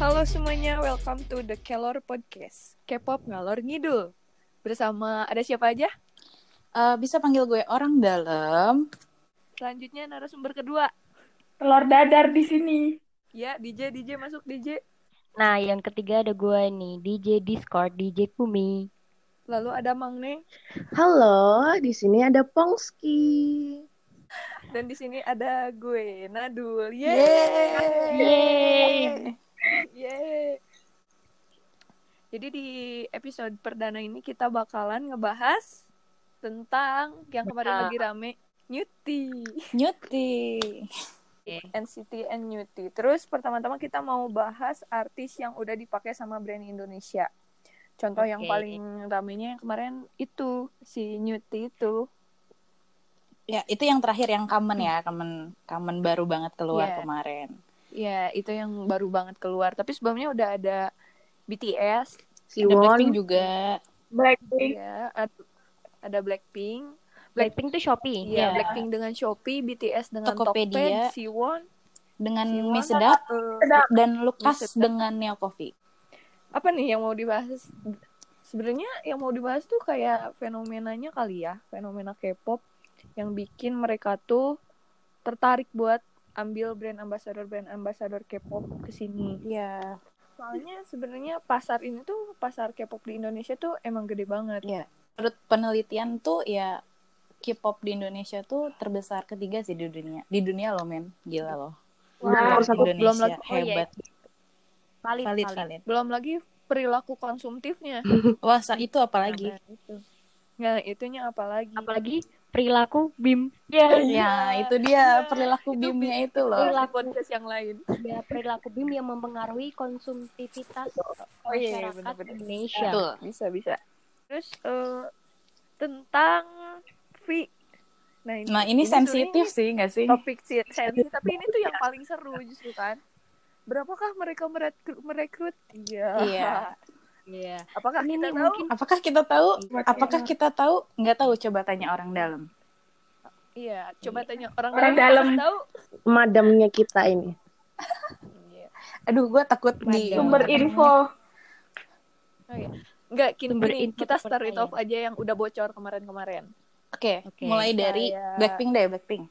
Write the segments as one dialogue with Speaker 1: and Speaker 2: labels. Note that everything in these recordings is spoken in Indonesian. Speaker 1: Halo semuanya, welcome to the Kelor Podcast. K-pop ngalor ngidul. Bersama ada siapa aja?
Speaker 2: Eh, bisa panggil gue orang dalam.
Speaker 1: Selanjutnya narasumber kedua.
Speaker 3: telur dadar di sini.
Speaker 1: Ya, DJ DJ masuk DJ.
Speaker 4: Nah, yang ketiga ada gue nih, DJ Discord, DJ Kumi.
Speaker 1: Lalu ada Mang Neng
Speaker 5: Halo, di sini ada Pongski.
Speaker 1: dan di sini ada gue, Nadul.
Speaker 5: Yeay.
Speaker 4: Yeay!
Speaker 1: Yeay. Jadi di episode perdana ini kita bakalan ngebahas tentang yang kemarin
Speaker 4: Betul.
Speaker 1: lagi rame, Newty.
Speaker 2: Nyuti.
Speaker 1: NCT and Newty. Terus pertama-tama kita mau bahas artis yang udah dipakai sama brand Indonesia. Contoh yang
Speaker 4: Oke.
Speaker 1: paling ramenya yang kemarin itu si Newty itu.
Speaker 2: Ya, itu yang terakhir yang common ya, common common baru banget keluar
Speaker 1: Iya.
Speaker 2: kemarin.
Speaker 1: Ya, itu yang baru banget keluar. Tapi sebelumnya udah ada BTS,
Speaker 2: Ada Blackpink
Speaker 5: Siwon.
Speaker 2: juga.
Speaker 3: Blackpink.
Speaker 1: ya, ad- ada Blackpink,
Speaker 4: Blackpink tuh Shopee.
Speaker 1: ya,
Speaker 2: Iya.
Speaker 1: Blackpink dengan Shopee, BTS dengan
Speaker 2: Tokopedia.
Speaker 1: Tokopedia, Siwon,
Speaker 2: dengan
Speaker 1: Siwon,
Speaker 2: Mie Sedap
Speaker 1: eh,
Speaker 2: dan Lukas
Speaker 1: Mie Sedap.
Speaker 2: dengan Neo Coffee.
Speaker 1: apa nih yang mau dibahas? Sebenarnya yang mau dibahas tuh kayak fenomenanya kali ya, fenomena K-pop yang bikin mereka tuh tertarik buat ambil brand ambassador brand ambassador K-pop ke sini.
Speaker 2: Iya.
Speaker 1: Soalnya sebenarnya pasar ini tuh pasar K-pop di Indonesia tuh emang gede banget.
Speaker 2: Menurut penelitian tuh ya K-pop di Indonesia tuh terbesar ketiga sih di dunia. Di dunia loh, men. Gila loh.
Speaker 3: Wah,
Speaker 5: Nomor satu.
Speaker 2: Indonesia
Speaker 1: belum lagi-
Speaker 4: oh iya.
Speaker 2: hebat. Valid,
Speaker 4: Valid, valid.
Speaker 2: valid.
Speaker 1: Belum lagi perilaku konsumtifnya.
Speaker 2: Wah, sa- itu apalagi?
Speaker 1: Nah, itu. Nah, itunya apalagi?
Speaker 4: Apalagi perilaku BIM.
Speaker 2: Ya, itu
Speaker 1: Iya.
Speaker 2: dia perilaku
Speaker 1: Itu
Speaker 2: bimnya
Speaker 1: bi-
Speaker 2: itu loh.
Speaker 1: Perilaku podcast yang lain.
Speaker 4: Ya, perilaku BIM yang mempengaruhi konsumtivitas
Speaker 1: Oh iya, iya,
Speaker 4: masyarakat
Speaker 1: bener-bener.
Speaker 4: Indonesia.
Speaker 2: Betul.
Speaker 1: bisa bisa terus eh, tentang V nah ini,
Speaker 2: Nah, ini sensitif
Speaker 1: sebenarnya
Speaker 2: sih, nggak sih?
Speaker 1: topik si- sensitif tapi ini tuh yang paling seru justru kan berapakah mereka merekrut merekrut iya
Speaker 2: Iya.
Speaker 4: Iya.
Speaker 1: apakah
Speaker 4: Ini
Speaker 1: kita
Speaker 4: nih
Speaker 1: tahu
Speaker 4: mungkin
Speaker 2: Apakah kita tahu?
Speaker 3: Buat
Speaker 2: Apakah
Speaker 3: yang-
Speaker 2: kita tahu? Nggak tahu. Coba tanya orang dalam.
Speaker 1: iya coba tanya orang,
Speaker 3: Orang
Speaker 1: dalam
Speaker 3: dalam.
Speaker 1: apakah tahu
Speaker 5: Madamnya kita ini.
Speaker 1: Iya.
Speaker 2: Aduh, gue takut di
Speaker 3: Sumber
Speaker 5: Iya.
Speaker 3: info.
Speaker 1: Enggak, gini,
Speaker 4: Sumber
Speaker 1: gini,
Speaker 4: info
Speaker 1: kita start it
Speaker 4: terpercaya.
Speaker 1: off aja yang udah bocor kemarin-kemarin.
Speaker 2: Oke,
Speaker 4: Oke.
Speaker 5: Iya.
Speaker 2: mulai dari
Speaker 1: Kayak-
Speaker 2: Blackpink deh, Blackpink.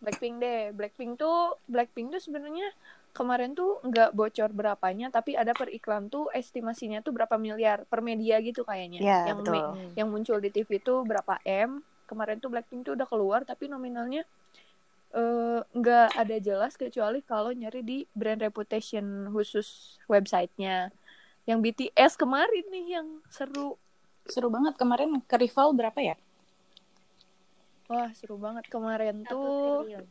Speaker 1: Blackpink deh. Blackpink tuh Blackpink tuh sebenarnya kemarin tuh nggak bocor berapanya tapi ada per iklan tuh estimasinya tuh berapa miliar per media gitu kayaknya.
Speaker 2: Iya,
Speaker 1: yang
Speaker 2: betul.
Speaker 1: me- yang muncul di TV tuh berapa M. Kemarin tuh Blackpink tuh udah keluar tapi nominalnya eh, nggak ada jelas kecuali kalau nyari di brand reputation khusus websitenya. Yang BTS kemarin nih yang seru.
Speaker 2: Seru banget kemarin ke rival berapa ya?
Speaker 1: Wah, seru banget kemarin
Speaker 4: Satu
Speaker 1: tuh.
Speaker 4: triliun.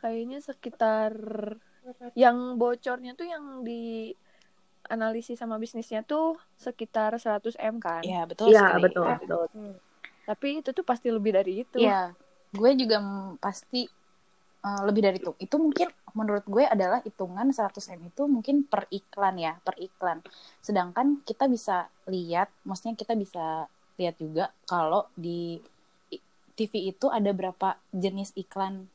Speaker 1: kayaknya sekitar yang bocornya tuh yang di analisis sama bisnisnya tuh sekitar 100 M kan.
Speaker 2: Iya, betul
Speaker 5: Iya,
Speaker 2: sekali.
Speaker 5: betul, betul.
Speaker 1: Tapi itu tuh pasti lebih dari itu.
Speaker 2: Iya. Gue juga mm, pasti uh, lebih dari itu. Itu mungkin menurut gue adalah hitungan 100 M itu mungkin per iklan ya, per iklan. Sedangkan kita bisa lihat, maksudnya kita bisa lihat juga kalau di i- TV itu ada berapa jenis iklan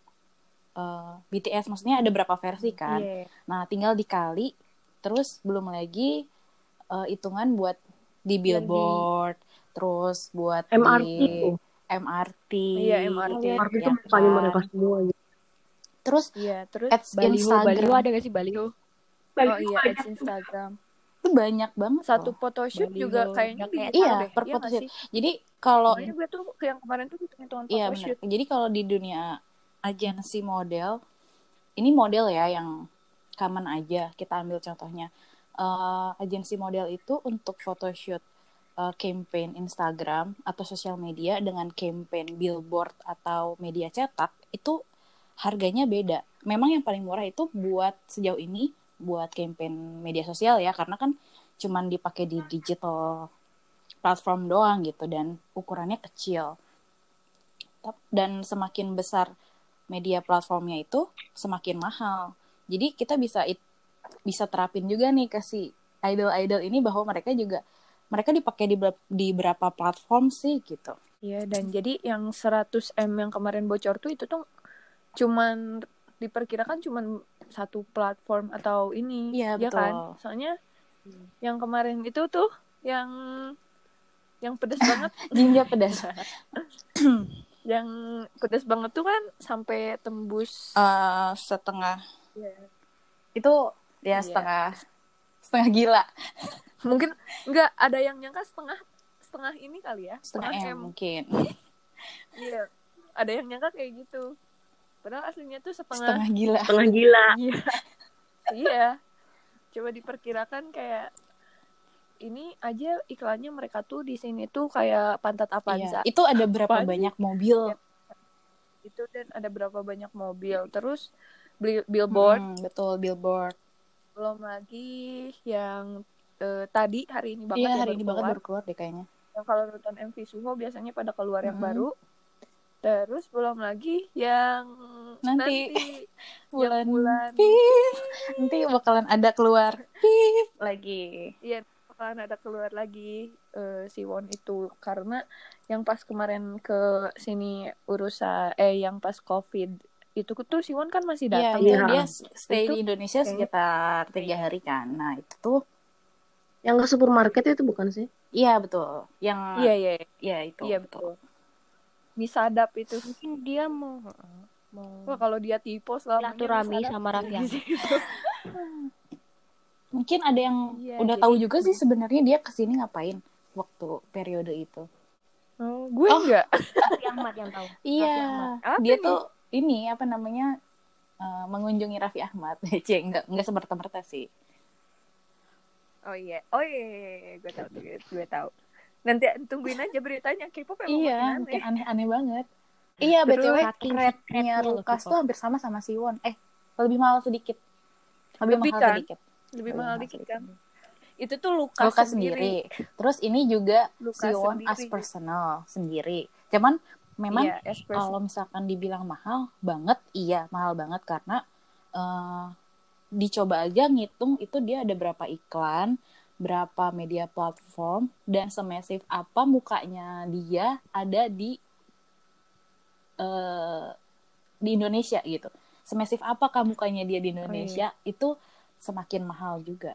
Speaker 2: uh, BTS, maksudnya ada berapa versi kan.
Speaker 1: Iya.
Speaker 2: Nah, tinggal dikali, terus belum lagi eh, hitungan buat di
Speaker 1: Iya,
Speaker 2: billboard, terus buat
Speaker 5: MRT
Speaker 2: di
Speaker 5: tuh.
Speaker 2: MRT.
Speaker 1: Iya, MRT.
Speaker 5: MRT
Speaker 2: ya
Speaker 5: itu bukannya
Speaker 2: kan?
Speaker 5: mereka semua. gitu.
Speaker 2: Terus
Speaker 1: Iya, terus
Speaker 2: ads
Speaker 4: Baliho, Baliho
Speaker 2: Instagram
Speaker 4: ada gak sih Baliho?
Speaker 3: Balik
Speaker 1: oh iya
Speaker 3: banyak
Speaker 1: ads Instagram.
Speaker 2: itu banyak banget.
Speaker 1: Satu
Speaker 2: loh.
Speaker 1: photoshoot
Speaker 4: Baliho,
Speaker 1: juga kayaknya
Speaker 4: Jakarta.
Speaker 1: digital
Speaker 2: Iya,
Speaker 1: deh.
Speaker 2: per
Speaker 1: Iya nggak
Speaker 2: photoshoot.
Speaker 1: sih? Iya.
Speaker 2: Jadi kalau
Speaker 1: Soalnya gue tuh ke yang kemarin tuh hitung-hitungan
Speaker 2: Iya
Speaker 1: photoshoot.
Speaker 2: benar. Jadi kalau di dunia agensi model, ini model ya yang common aja. Kita ambil contohnya Eh, agensi model itu untuk photoshoot eh, campaign Instagram atau sosial media dengan campaign billboard atau media cetak itu harganya beda. Memang yang paling murah itu buat sejauh ini buat campaign media sosial ya karena kan cuman dipakai di digital platform doang gitu dan ukurannya kecil. Tap- dan semakin besar media platformnya itu semakin mahal. Jadi kita bisa it- bisa terapin juga nih ke si idol-idol ini bahwa mereka juga mereka dipakai di, ber- di berapa platform sih gitu.
Speaker 1: Iya, dan jadi yang 100 M yang kemarin bocor tuh itu tuh cuman diperkirakan cuman satu platform atau ini
Speaker 2: Iya,
Speaker 1: ya
Speaker 2: betul.
Speaker 1: kan soalnya yang kemarin itu tuh yang yang pedes banget
Speaker 2: Jinja pedas. Eh,
Speaker 1: yang pedes banget tuh kan sampai tembus
Speaker 2: Eh, setengah.
Speaker 1: Iya.
Speaker 2: Itu
Speaker 1: Iya.
Speaker 2: ya setengah setengah gila,
Speaker 1: mungkin nggak ada yang nyangka setengah setengah ini kali ya
Speaker 2: setengah M mungkin.
Speaker 1: iya ada yang nyangka kayak gitu padahal aslinya tuh setengah
Speaker 2: Setengah gila.
Speaker 5: Tengah gila.
Speaker 1: iya iya coba diperkirakan kayak ini aja iklannya mereka tuh di sini tuh kayak pantat
Speaker 2: Iya.
Speaker 1: Avanza
Speaker 2: Itu ada berapa
Speaker 1: Apaan?
Speaker 2: banyak mobil?
Speaker 1: itu gitu dan ada berapa banyak mobil terus beli billboard
Speaker 2: Hmm, betul, billboard.
Speaker 1: belum lagi yang eh, tadi hari ini banget
Speaker 2: Iya,
Speaker 1: ya baru
Speaker 2: hari ini banget
Speaker 1: keluar.
Speaker 2: baru keluar deh kayaknya.
Speaker 1: yang kalau nonton MV Suho biasanya pada keluar yang
Speaker 2: Mhm.
Speaker 1: baru terus belum lagi yang
Speaker 2: Nanti.
Speaker 1: bulan bulan
Speaker 2: Bulan, Pip. Nanti bakalan ada keluar. Pip lagi.
Speaker 1: bakalan ada keluar lagi eh, si Won itu karena yang pas kemarin ke sini urusan eh yang pas COVID itu tuh si Won kan masih
Speaker 2: Iya,
Speaker 1: datang
Speaker 2: itu
Speaker 5: ya.
Speaker 2: dia stay
Speaker 1: Itu
Speaker 2: di Indonesia
Speaker 1: kayaknya-
Speaker 2: sekitar tiga hari kan. Nah, itu tuh
Speaker 5: Yang ke supermarket itu bukan sih?
Speaker 2: iya betul. Yang
Speaker 1: iya iya
Speaker 2: ya itu.
Speaker 1: iya betul misadap itu
Speaker 4: Mungkin dia mau mau
Speaker 1: Wah, kalau dia tipe selama
Speaker 4: silaturahmi sama Raffi Ahmad.
Speaker 2: Mungkin ada yang
Speaker 1: Iya,
Speaker 2: udah
Speaker 1: jadi-
Speaker 2: tahu juga sih sebenarnya dia kesini ngapain waktu periode itu.
Speaker 1: Oh, gue enggak
Speaker 4: Raffi Ahmad yang tahu.
Speaker 2: Iya.
Speaker 4: Ahmad.
Speaker 1: Apa
Speaker 2: Oh, Dia
Speaker 1: nih?
Speaker 2: tuh ini apa namanya eh, mengunjungi Raffi Ahmad. Cek enggak enggak semerta-merta sih.
Speaker 1: Oh iya, oh iya, iya, iya. gue tahu, gue, gue tahu. Nanti tungguin aja beritanya K-pop emang
Speaker 2: Iya,
Speaker 1: makin
Speaker 2: mungkin
Speaker 1: aneh.
Speaker 2: aneh-aneh banget. Iya,
Speaker 1: Terus,
Speaker 2: BTW
Speaker 4: saking
Speaker 2: rate-nya
Speaker 4: secretnya loh
Speaker 2: Lukas
Speaker 4: K-pop.
Speaker 2: tuh hampir sama sama Siwon. Eh, lebih mahal sedikit. Lebih,
Speaker 1: Lebih
Speaker 2: mahal
Speaker 1: kan?
Speaker 2: sedikit.
Speaker 1: lebih mahal dikit kan. Itu tuh Lukas,
Speaker 2: Lukas
Speaker 1: sendiri.
Speaker 2: sendiri. Terus ini juga
Speaker 1: Lukas
Speaker 2: Siwon
Speaker 1: sendiri.
Speaker 2: as personal sendiri. Cuman memang
Speaker 1: Iya, as person.
Speaker 2: kalau misalkan dibilang mahal banget, iya mahal banget karena eh, dicoba aja ngitung itu dia ada berapa iklan, berapa media platform dan semesif apa mukanya dia ada di eh, di Indonesia gitu. Semesif apakah mukanya
Speaker 1: Oh,
Speaker 2: dia
Speaker 1: iya.
Speaker 2: di Indonesia itu semakin mahal juga.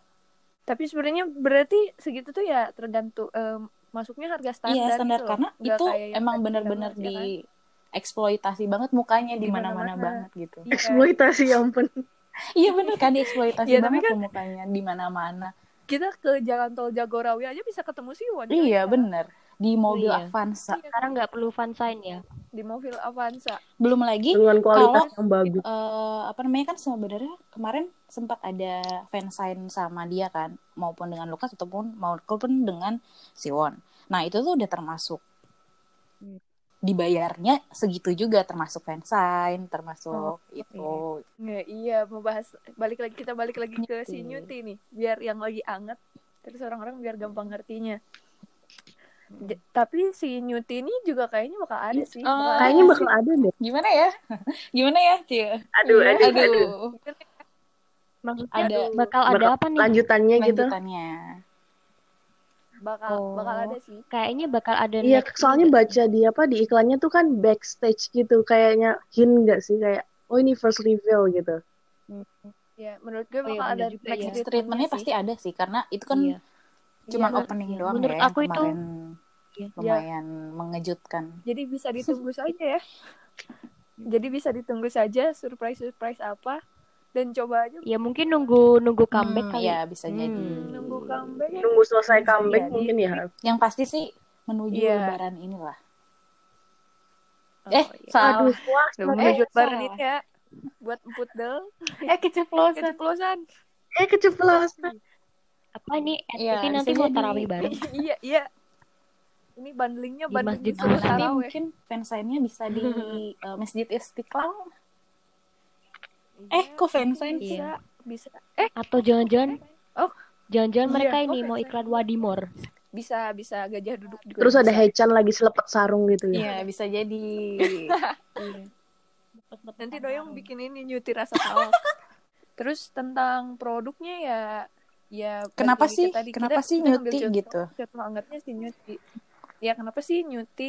Speaker 1: Tapi sebenarnya berarti segitu tuh ya tergantung em, masuknya harga standar.
Speaker 2: Iya standar
Speaker 1: gitu loh.
Speaker 2: karena
Speaker 1: Nggak
Speaker 2: itu
Speaker 1: kayak yang
Speaker 2: emang
Speaker 1: tadi banget,
Speaker 2: benar-benar
Speaker 1: ya kan?
Speaker 2: di eksploitasi banget mukanya di
Speaker 1: Di
Speaker 2: mana-mana
Speaker 1: mana-mana.
Speaker 2: banget gitu.
Speaker 1: Iya.
Speaker 5: Eksploitasi ya ampun.
Speaker 2: Iya bener kan dieksploitasi
Speaker 1: Iya, tapi
Speaker 2: banget tuh mukanya di mana-mana.
Speaker 1: Kita ke jalan tol Jagorawi aja bisa ketemu Siwon.
Speaker 2: Iya
Speaker 1: kan?
Speaker 2: bener di mobil
Speaker 4: Iya.
Speaker 2: Avanza.
Speaker 1: Iya,
Speaker 4: Sekarang nggak perlu fan sign ya.
Speaker 1: Di mobil Avanza.
Speaker 2: Belum lagi
Speaker 5: Dengan kualitas yang bagus.
Speaker 2: eh, apa namanya kan sebenarnya kemarin sempat ada fansign sama dia kan maupun dengan Lukas ataupun maupun dengan Siwon. Nah itu tuh udah termasuk
Speaker 1: Hmm.
Speaker 2: dibayarnya segitu juga termasuk fansign termasuk itu
Speaker 1: Nggak, iya, mau bahas balik lagi kita balik lagi ke si
Speaker 2: Nyuti.
Speaker 1: Nyuti nih, biar yang lagi anget terus orang-orang biar gampang ngertinya. J- tapi si Nyuti ini juga kayaknya bakal ada sih.
Speaker 2: Oh,
Speaker 1: bakal ada
Speaker 5: Kayaknya
Speaker 1: sih.
Speaker 5: bakal ada deh.
Speaker 2: gimana ya gimana ya Cie
Speaker 5: Aduh, aduh,
Speaker 2: aduh,
Speaker 5: aduh.
Speaker 4: Maksudnya
Speaker 2: ada
Speaker 4: bakal ada apa nih?
Speaker 5: Lanjutannya gitu.
Speaker 2: lanjutannya
Speaker 1: bakal
Speaker 4: Oh.
Speaker 1: bakal ada sih.
Speaker 4: Kayaknya bakal ada
Speaker 5: Iya,
Speaker 4: next
Speaker 5: soalnya
Speaker 4: juga.
Speaker 5: baca di apa di iklannya tuh kan backstage gitu, kayaknya hint nggak sih kayak oh ini first reveal gitu.
Speaker 1: Ya, menurut gue
Speaker 4: Oh, iya,
Speaker 1: bakal
Speaker 4: bener
Speaker 1: ada next
Speaker 4: juga ya.
Speaker 2: next
Speaker 1: treatment-nya
Speaker 2: treatmentnya
Speaker 1: sih.
Speaker 2: pasti ada iya sih karena itu kan
Speaker 4: Iya.
Speaker 2: cuma
Speaker 1: Iya,
Speaker 2: opening doang
Speaker 4: Menurut
Speaker 2: ya yang
Speaker 4: aku itu-
Speaker 2: kemarin ya,
Speaker 4: Iya.
Speaker 2: lumayan mengejutkan
Speaker 1: Jadi bisa ditunggu saja ya. Jadi bisa ditunggu saja surprise-surprise apa dan coba aja
Speaker 4: Ya mungkin nunggu nunggu comeback
Speaker 2: Hmm,
Speaker 4: kali.
Speaker 2: ya bisa
Speaker 4: Hmm.
Speaker 2: jadi
Speaker 1: nunggu comeback ya.
Speaker 5: Tunggu selesai comeback
Speaker 1: Jadi-
Speaker 5: mungkin ya.
Speaker 2: yang pasti sih menuju
Speaker 1: Iya.
Speaker 2: lebaran inilah
Speaker 1: Oh,
Speaker 2: eh
Speaker 1: iya.
Speaker 2: salah
Speaker 5: Aduh, wah,
Speaker 1: Menuju lebaran
Speaker 2: Eh, salah.
Speaker 1: ini ya buat emputdel
Speaker 2: eh keceplosan
Speaker 1: keceplosan.
Speaker 5: eh keceplosan.
Speaker 4: Apa nih?
Speaker 2: Iya,
Speaker 4: Mungkin nanti
Speaker 2: bisa
Speaker 4: mau
Speaker 2: jadi.
Speaker 4: tarawih bareng.
Speaker 1: iya, iya. Ini bundlingnya
Speaker 4: Di
Speaker 1: bundling
Speaker 4: Masjid
Speaker 1: di
Speaker 4: Al-Aqsa.
Speaker 2: nanti
Speaker 1: tarawih.
Speaker 2: mungkin fansign-nya bisa di eh, masjid istiqlal eh
Speaker 1: Iya,
Speaker 2: kok fansign
Speaker 1: bisa,
Speaker 4: Iya.
Speaker 1: bisa.
Speaker 4: Atau jangan-jangan
Speaker 1: Oh.
Speaker 4: Jangan-jangan
Speaker 1: Iya,
Speaker 4: mereka
Speaker 1: oh,
Speaker 4: ini mau
Speaker 1: fansign.
Speaker 4: iklan Wadimor.
Speaker 1: Bisa, bisa gajah duduk juga.
Speaker 5: Terus ada
Speaker 1: bisa.
Speaker 5: Hechan lagi selepet sarung gitu ya.
Speaker 2: iya bisa jadi
Speaker 1: Nanti doyong bikin ini nyuti rasa tahu. Terus tentang produknya ya ya
Speaker 2: Kenapa
Speaker 1: balik lagi
Speaker 2: sih?
Speaker 1: ke tadi.
Speaker 2: Kenapa
Speaker 1: Kita-
Speaker 2: sih
Speaker 1: kita ambil
Speaker 2: Nyuti
Speaker 1: contoh-
Speaker 2: gitu?
Speaker 1: Contoh angetnya si nyuti. Ya kenapa sih nyuti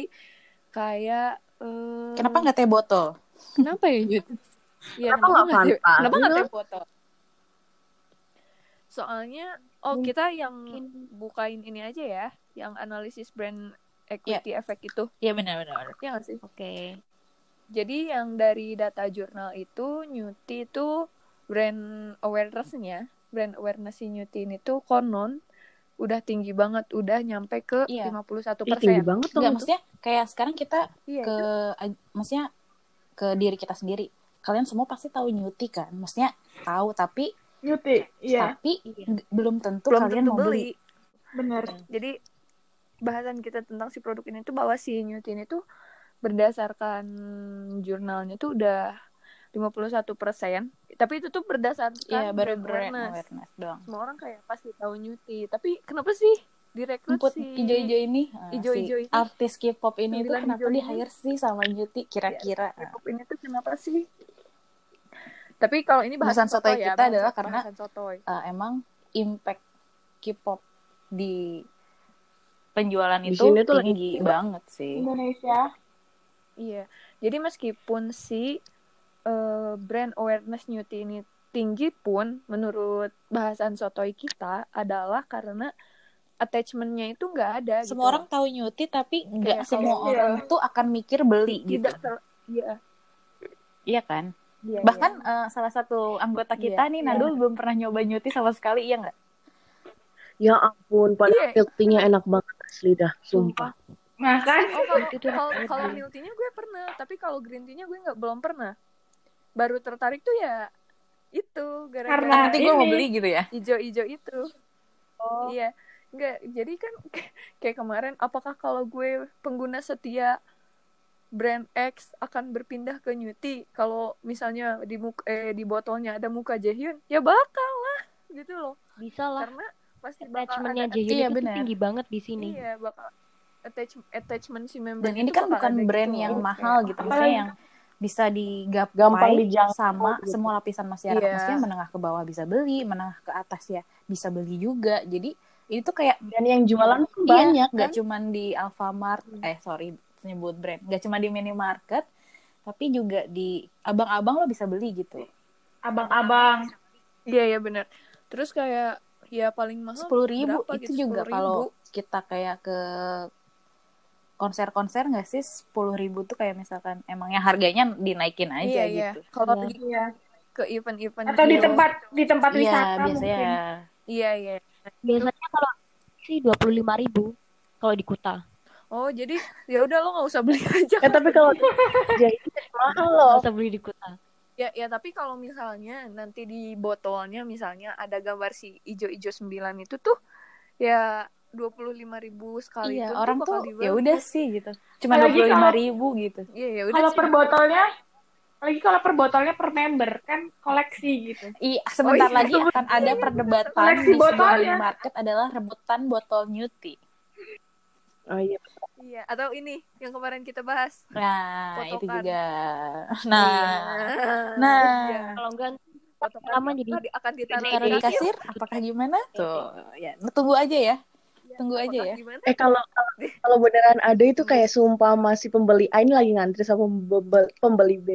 Speaker 1: kayak eh,
Speaker 2: kenapa nggak teh botol
Speaker 1: Kenapa ya nyuti? Iya,
Speaker 5: Kenapa nggak
Speaker 1: nggak sih-
Speaker 5: pantas?
Speaker 1: Kenapa nggak
Speaker 5: Iya.
Speaker 1: tim foto? Soalnya, oh kita yang bukain ini aja ya, yang analisis brand
Speaker 2: Ya.
Speaker 1: equity effect itu,
Speaker 2: Iya benar-benar.
Speaker 1: ya nggak sih?
Speaker 4: Oke.
Speaker 1: Jadi yang dari data jurnal itu, Newty itu brand awareness-nya, brand awareness si Newty ini tuh konon udah tinggi banget, udah nyampe ke
Speaker 2: Iya.
Speaker 1: 51
Speaker 5: Ih, tinggi
Speaker 1: persen.
Speaker 5: banget tuh.
Speaker 2: Enggak maksudnya kayak sekarang kita
Speaker 1: Iya,
Speaker 2: ke aj- maksudnya ke diri kita sendiri. Kalian semua pasti tahu nyuti kan? Maksudnya tahu tapi
Speaker 3: Nyuti, iya
Speaker 2: tapi nggak- belum tentu
Speaker 1: belum
Speaker 2: kalian
Speaker 1: tentu
Speaker 2: mau
Speaker 1: beli.
Speaker 2: beli.
Speaker 3: bener.
Speaker 5: Iya.
Speaker 1: Jadi bahasan kita tentang si produk ini tuh bahwa si Newt ini tuh berdasarkan jurnalnya tuh udah 51 persen. Tapi itu tuh berdasarkan
Speaker 2: Iya, baru
Speaker 1: brand
Speaker 2: brand
Speaker 1: Kan awareness.
Speaker 2: awareness doang.
Speaker 1: Semua orang kayak pasti tahu Newty. Tapi kenapa sih direkrut
Speaker 2: Input
Speaker 1: si
Speaker 2: ijo-ijo ini, ah,
Speaker 1: ijo-ijo
Speaker 2: si
Speaker 1: itu.
Speaker 2: artis K-pop ini tuh
Speaker 1: Sembilan
Speaker 2: kenapa
Speaker 1: ijo
Speaker 2: di
Speaker 1: ini. Iya.
Speaker 2: hire sih sama Nyuti kira-kira? Ah.
Speaker 1: K-pop ini tuh kenapa sih? Tapi kalau ini bahasan
Speaker 2: Bahasan
Speaker 1: sotoy
Speaker 2: sotoy
Speaker 1: ya,
Speaker 2: kita
Speaker 1: bahasan-
Speaker 2: adalah karena-
Speaker 1: bahasan sotoy.
Speaker 2: uh, emang impact K-pop di penjualan
Speaker 5: Di
Speaker 2: itu
Speaker 5: sini tuh lagi
Speaker 2: tinggi banget sih.
Speaker 3: Indonesia.
Speaker 1: Iya. Jadi meskipun si eh, brand awareness Newty ini tinggi pun menurut bahasan sotoy kita adalah karena attachmentnya itu nggak ada. gitu.
Speaker 2: Semua orang tahu Nyuti tapi
Speaker 1: Kayak
Speaker 2: nggak semua
Speaker 3: kalau-
Speaker 2: orang tuh akan mikir beli gitu.
Speaker 1: tidak ter- Iya.
Speaker 2: Iya kan?
Speaker 1: iya,
Speaker 2: Bahkan
Speaker 1: iya.
Speaker 2: uh, salah satu anggota kita
Speaker 1: Iya,
Speaker 2: nih
Speaker 1: iya.
Speaker 2: Nadul belum pernah nyoba Nyuti sama sekali iya nggak?
Speaker 5: Ya ampun, padahal
Speaker 1: Iya.
Speaker 5: milknya enak banget asli dah, sumpah.
Speaker 3: Makan.
Speaker 1: Oh kalau kalau kalau milk tea-nya gue pernah, tapi kalau green tea-nya gue nggak belum pernah. Baru tertarik tuh ya itu
Speaker 3: Karena
Speaker 1: gara-gara
Speaker 2: Nanti gue mau
Speaker 3: ini.
Speaker 2: beli gitu ya.
Speaker 1: ijo-ijo itu. Iya. Enggak, jadi kan kayak kemarin apakah kalau gue pengguna setia brand X akan berpindah ke Newty kalau misalnya di muk- eh, di botolnya ada muka Jaehyun? Ya bakal lah gitu loh.
Speaker 4: Bisa lah.
Speaker 1: Karena pasti bakal
Speaker 4: Attachmentnya
Speaker 1: ada-
Speaker 4: Jaehyun
Speaker 2: Iya,
Speaker 4: itu
Speaker 2: benar.
Speaker 4: tinggi banget di sini.
Speaker 1: Iya, bakal attach- attachment si member
Speaker 2: Dan ini kan bukan brand yang mahal
Speaker 1: Iya.
Speaker 2: gitu, maksudnya yang bisa digapai
Speaker 5: Gampang dijangkau
Speaker 2: sama
Speaker 5: gitu.
Speaker 2: semua lapisan masyarakat.
Speaker 1: Iya.
Speaker 2: Maksudnya menengah ke bawah bisa beli, menengah ke atas ya bisa beli juga. Jadi itu kayak
Speaker 5: Dan yang jualan pun
Speaker 2: Iya,
Speaker 5: banyak
Speaker 2: nggak
Speaker 5: kan?
Speaker 2: cuman di Alfamart eh sorry nyebut brand nggak cuma di minimarket tapi juga di abang-abang lo bisa beli gitu
Speaker 3: Abang-abang.
Speaker 1: Iya, iya benar. Terus kayak ya paling mahal
Speaker 2: sepuluh ribu
Speaker 1: berapa
Speaker 2: itu
Speaker 1: gitu,
Speaker 2: juga
Speaker 1: 10.000.
Speaker 2: kalau kita kayak ke konser-konser nggak sih sepuluh ribu tuh kayak misalkan emangnya harganya dinaikin aja
Speaker 1: Iya, iya.
Speaker 2: gitu
Speaker 1: Kalau
Speaker 4: Iya.
Speaker 1: di-
Speaker 3: Iya.
Speaker 1: ke event-event
Speaker 3: Atau di
Speaker 1: gitu.
Speaker 3: tempat di tempat
Speaker 2: iya
Speaker 3: wisata
Speaker 2: biasanya
Speaker 3: mungkin.
Speaker 1: Iya, iya.
Speaker 4: Biasanya kalau sih 25.000 kalau di Kuta.
Speaker 1: Oh, jadi ya udah lo nggak usah beli aja.
Speaker 5: Ya tapi kalau jahit mahal loh.
Speaker 2: Oh.
Speaker 4: Bisa beli di Kuta.
Speaker 1: Ya, ya tapi kalau misalnya nanti di botolnya misalnya ada gambar si ijo-ijo sembilan itu tuh ya dua puluh lima ribu sekali
Speaker 2: iya
Speaker 1: itu
Speaker 2: orang
Speaker 1: bakal
Speaker 2: tuh
Speaker 1: dibantu.
Speaker 2: ya udah sih gitu cuma dua
Speaker 3: Apalagi
Speaker 2: puluh
Speaker 3: kalau-
Speaker 2: lima ribu gitu
Speaker 1: Iya, ya udah.
Speaker 3: Kalau
Speaker 1: sih.
Speaker 3: per botolnya lagi kalau per botolnya per member kan koleksi gitu.
Speaker 2: Iya, sebentar
Speaker 1: Oh, iya,
Speaker 2: lagi akan ada perdebatan
Speaker 3: Koleksi
Speaker 2: di sebuah
Speaker 3: botolnya.
Speaker 2: minimarket adalah rebutan botol Newty.
Speaker 5: Oh iya.
Speaker 1: Iya, atau ini yang kemarin kita bahas.
Speaker 2: Nah,
Speaker 1: Potokan.
Speaker 2: itu juga. Nah, nah.
Speaker 1: kan. Iya.
Speaker 4: Kalau enggak
Speaker 1: Potongan
Speaker 4: Lama
Speaker 1: apa
Speaker 4: jadi
Speaker 1: akan ditaruh
Speaker 2: Taruh di kasir, apakah gimana tuh? Ya, tunggu aja ya. Tunggu aja
Speaker 1: Apakah
Speaker 2: ya.
Speaker 1: Gimana?
Speaker 5: Eh kalau kalau- kalau beneran ada itu kayak sumpah masih pembeli A ini lagi ngantri sama pembel- pembeli B.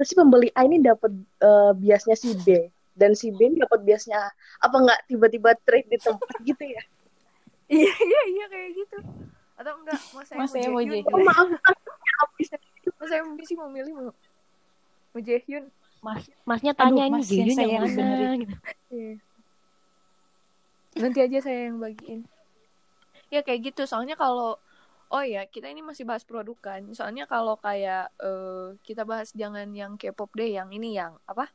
Speaker 5: Terus si pembeli A ini dapat eh, biasnya si B dan si B ini dapat biasnya A. apa nggak tiba-tiba trade di tempat gitu ya?
Speaker 1: Iya, iya, iya kayak gitu. Atau enggak, mau saya
Speaker 2: Mau saya mau
Speaker 1: Jaehyun.
Speaker 2: Jaehyun.
Speaker 5: Oh maaf, habis
Speaker 1: Mau saya mau sih mau milih mau. Mau Jaehyun.
Speaker 4: mas masnya tanya
Speaker 2: Aduh,
Speaker 4: ini
Speaker 2: Mas, yang
Speaker 4: Jaehyun
Speaker 2: saya
Speaker 4: yang
Speaker 2: yang benerin.
Speaker 4: mana gitu.
Speaker 1: Iya. Nanti aja saya yang bagiin. Ya kayak gitu. Soalnya kalau oh ya, kita ini masih bahas produk kan. Soalnya kalau kayak eh, kita bahas jangan yang K-pop deh, yang ini yang apa?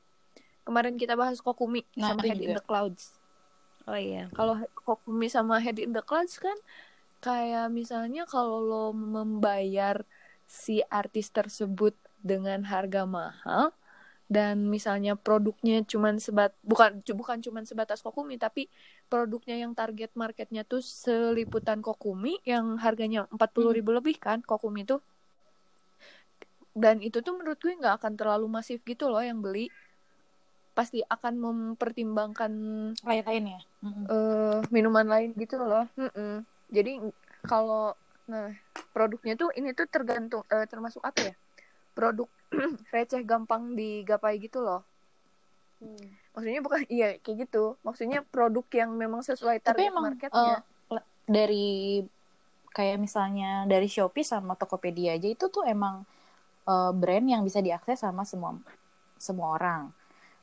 Speaker 1: Kemarin kita bahas Kokumi
Speaker 2: Nah,
Speaker 1: sama
Speaker 2: itu
Speaker 1: Head in
Speaker 2: juga.
Speaker 1: the Clouds.
Speaker 4: Oh iya.
Speaker 1: Kalau He- Kokumi sama Head in the Clouds kan kayak misalnya kalau lo membayar si artis tersebut dengan harga mahal dan misalnya produknya cuman sebat bukan cu- bukan cuman sebatas kokumi tapi produknya yang target marketnya tuh seliputan kokumi yang harganya 40.000 ribu lebih kan kokumi itu dan itu tuh menurut gue nggak akan terlalu masif gitu loh yang beli pasti akan mempertimbangkan
Speaker 2: Lain-lain ya. Mm-mm.
Speaker 1: eh minuman lain gitu loh. Mm-mm. Jadi kalau nah produknya tuh ini tuh tergantung eh, termasuk apa ya? Produk receh gampang digapai gitu loh.
Speaker 2: Hmm.
Speaker 1: Maksudnya bukan iya kayak gitu. Maksudnya produk yang memang sesuai target
Speaker 2: Tapi emang
Speaker 1: marketnya.
Speaker 2: eh, le- dari kayak misalnya dari Shopee sama Tokopedia aja itu tuh emang eh, brand yang bisa diakses sama semua semua orang.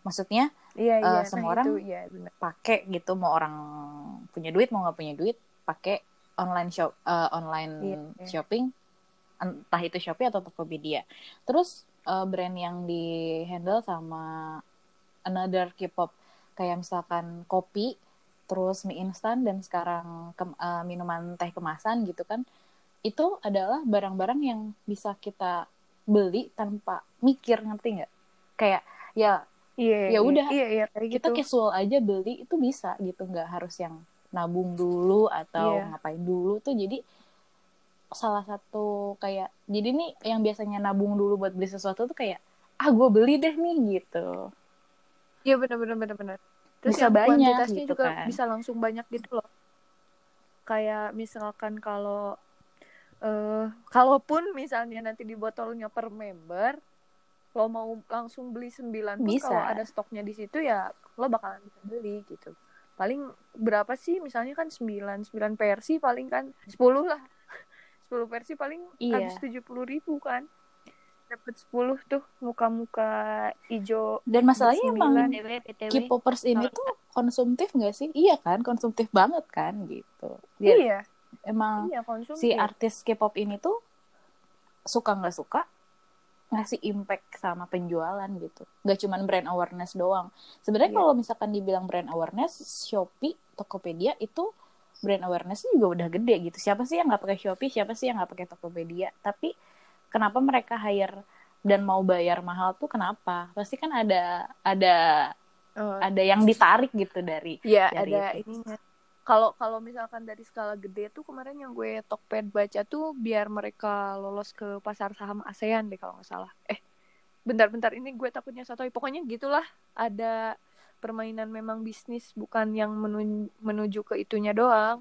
Speaker 2: Maksudnya
Speaker 1: iya
Speaker 2: eh,
Speaker 1: iya nah
Speaker 2: semua orang
Speaker 1: itu iya benar.
Speaker 2: pakai gitu mau orang punya duit mau nggak punya duit pakai online shop eh, online
Speaker 1: Iya.
Speaker 2: shopping entah itu Shopee atau Tokopedia. Terus eh, brand yang di handle sama another K-pop kayak misalkan kopi, terus mie instan dan sekarang kem- eh, minuman teh kemasan gitu kan. Itu adalah barang-barang yang bisa kita beli tanpa mikir ngerti nggak? Kayak ya
Speaker 1: Iya. iya,
Speaker 2: Ya udah.
Speaker 1: Iya iya kayak gitu.
Speaker 2: kita casual aja beli itu bisa gitu nggak harus yang nabung dulu atau
Speaker 1: Iya.
Speaker 2: ngapain dulu tuh jadi salah satu kayak jadi nih yang biasanya nabung dulu buat beli sesuatu tuh kayak ah gue beli deh nih gitu
Speaker 1: Iya benar benar benar benar.
Speaker 2: Bisa
Speaker 1: yang
Speaker 2: banyak
Speaker 1: kuantitasnya
Speaker 2: gitu
Speaker 1: juga
Speaker 2: kan.
Speaker 1: bisa langsung banyak gitu loh. Kayak misalkan kalau eh kalaupun misalnya nanti di botolnya per member, lo mau langsung beli 9 pun
Speaker 2: Bisa.
Speaker 1: kalau ada stoknya di situ ya lo bakalan bisa beli gitu. Paling berapa sih misalnya kan 9, 9 versi paling kan 10 lah. 10 versi paling
Speaker 2: Iya.
Speaker 1: habis 70 ribu kan. Dapat 10 tuh muka-muka hijau
Speaker 2: dan masalahnya emang
Speaker 1: Sembilan.
Speaker 4: PTW, PTW.
Speaker 2: K-popers ini tuh konsumtif nggak sih iya kan konsumtif banget kan gitu Dia-
Speaker 1: Iya,
Speaker 2: emang
Speaker 1: iya konsumtif.
Speaker 2: Oh, si artis K-pop ini tuh suka nggak suka ngasih impact sama penjualan gitu. Gak cuman brand awareness doang. Sebenarnya
Speaker 1: Iya.
Speaker 2: kalau misalkan dibilang brand awareness, Shopee, Tokopedia itu brand awareness juga udah gede gitu. Siapa sih yang nggak pakai Shopee? Siapa sih yang nggak pakai Tokopedia? Tapi kenapa mereka hire dan mau bayar mahal tuh kenapa? Pasti kan ada ada
Speaker 1: Oh,
Speaker 2: ada yang ditarik gitu dari
Speaker 1: Iya,
Speaker 2: dari
Speaker 1: ada
Speaker 2: itu.
Speaker 1: ininya. Kalau kalau misalkan dari skala gede tuh kemarin yang gue Tokped baca tuh biar mereka lolos ke pasar saham ASEAN deh kalau nggak salah. Eh, bentar-bentar ini gue takutnya satu. Pokoknya gitulah ada permainan memang bisnis bukan yang menun- menuju ke itunya doang.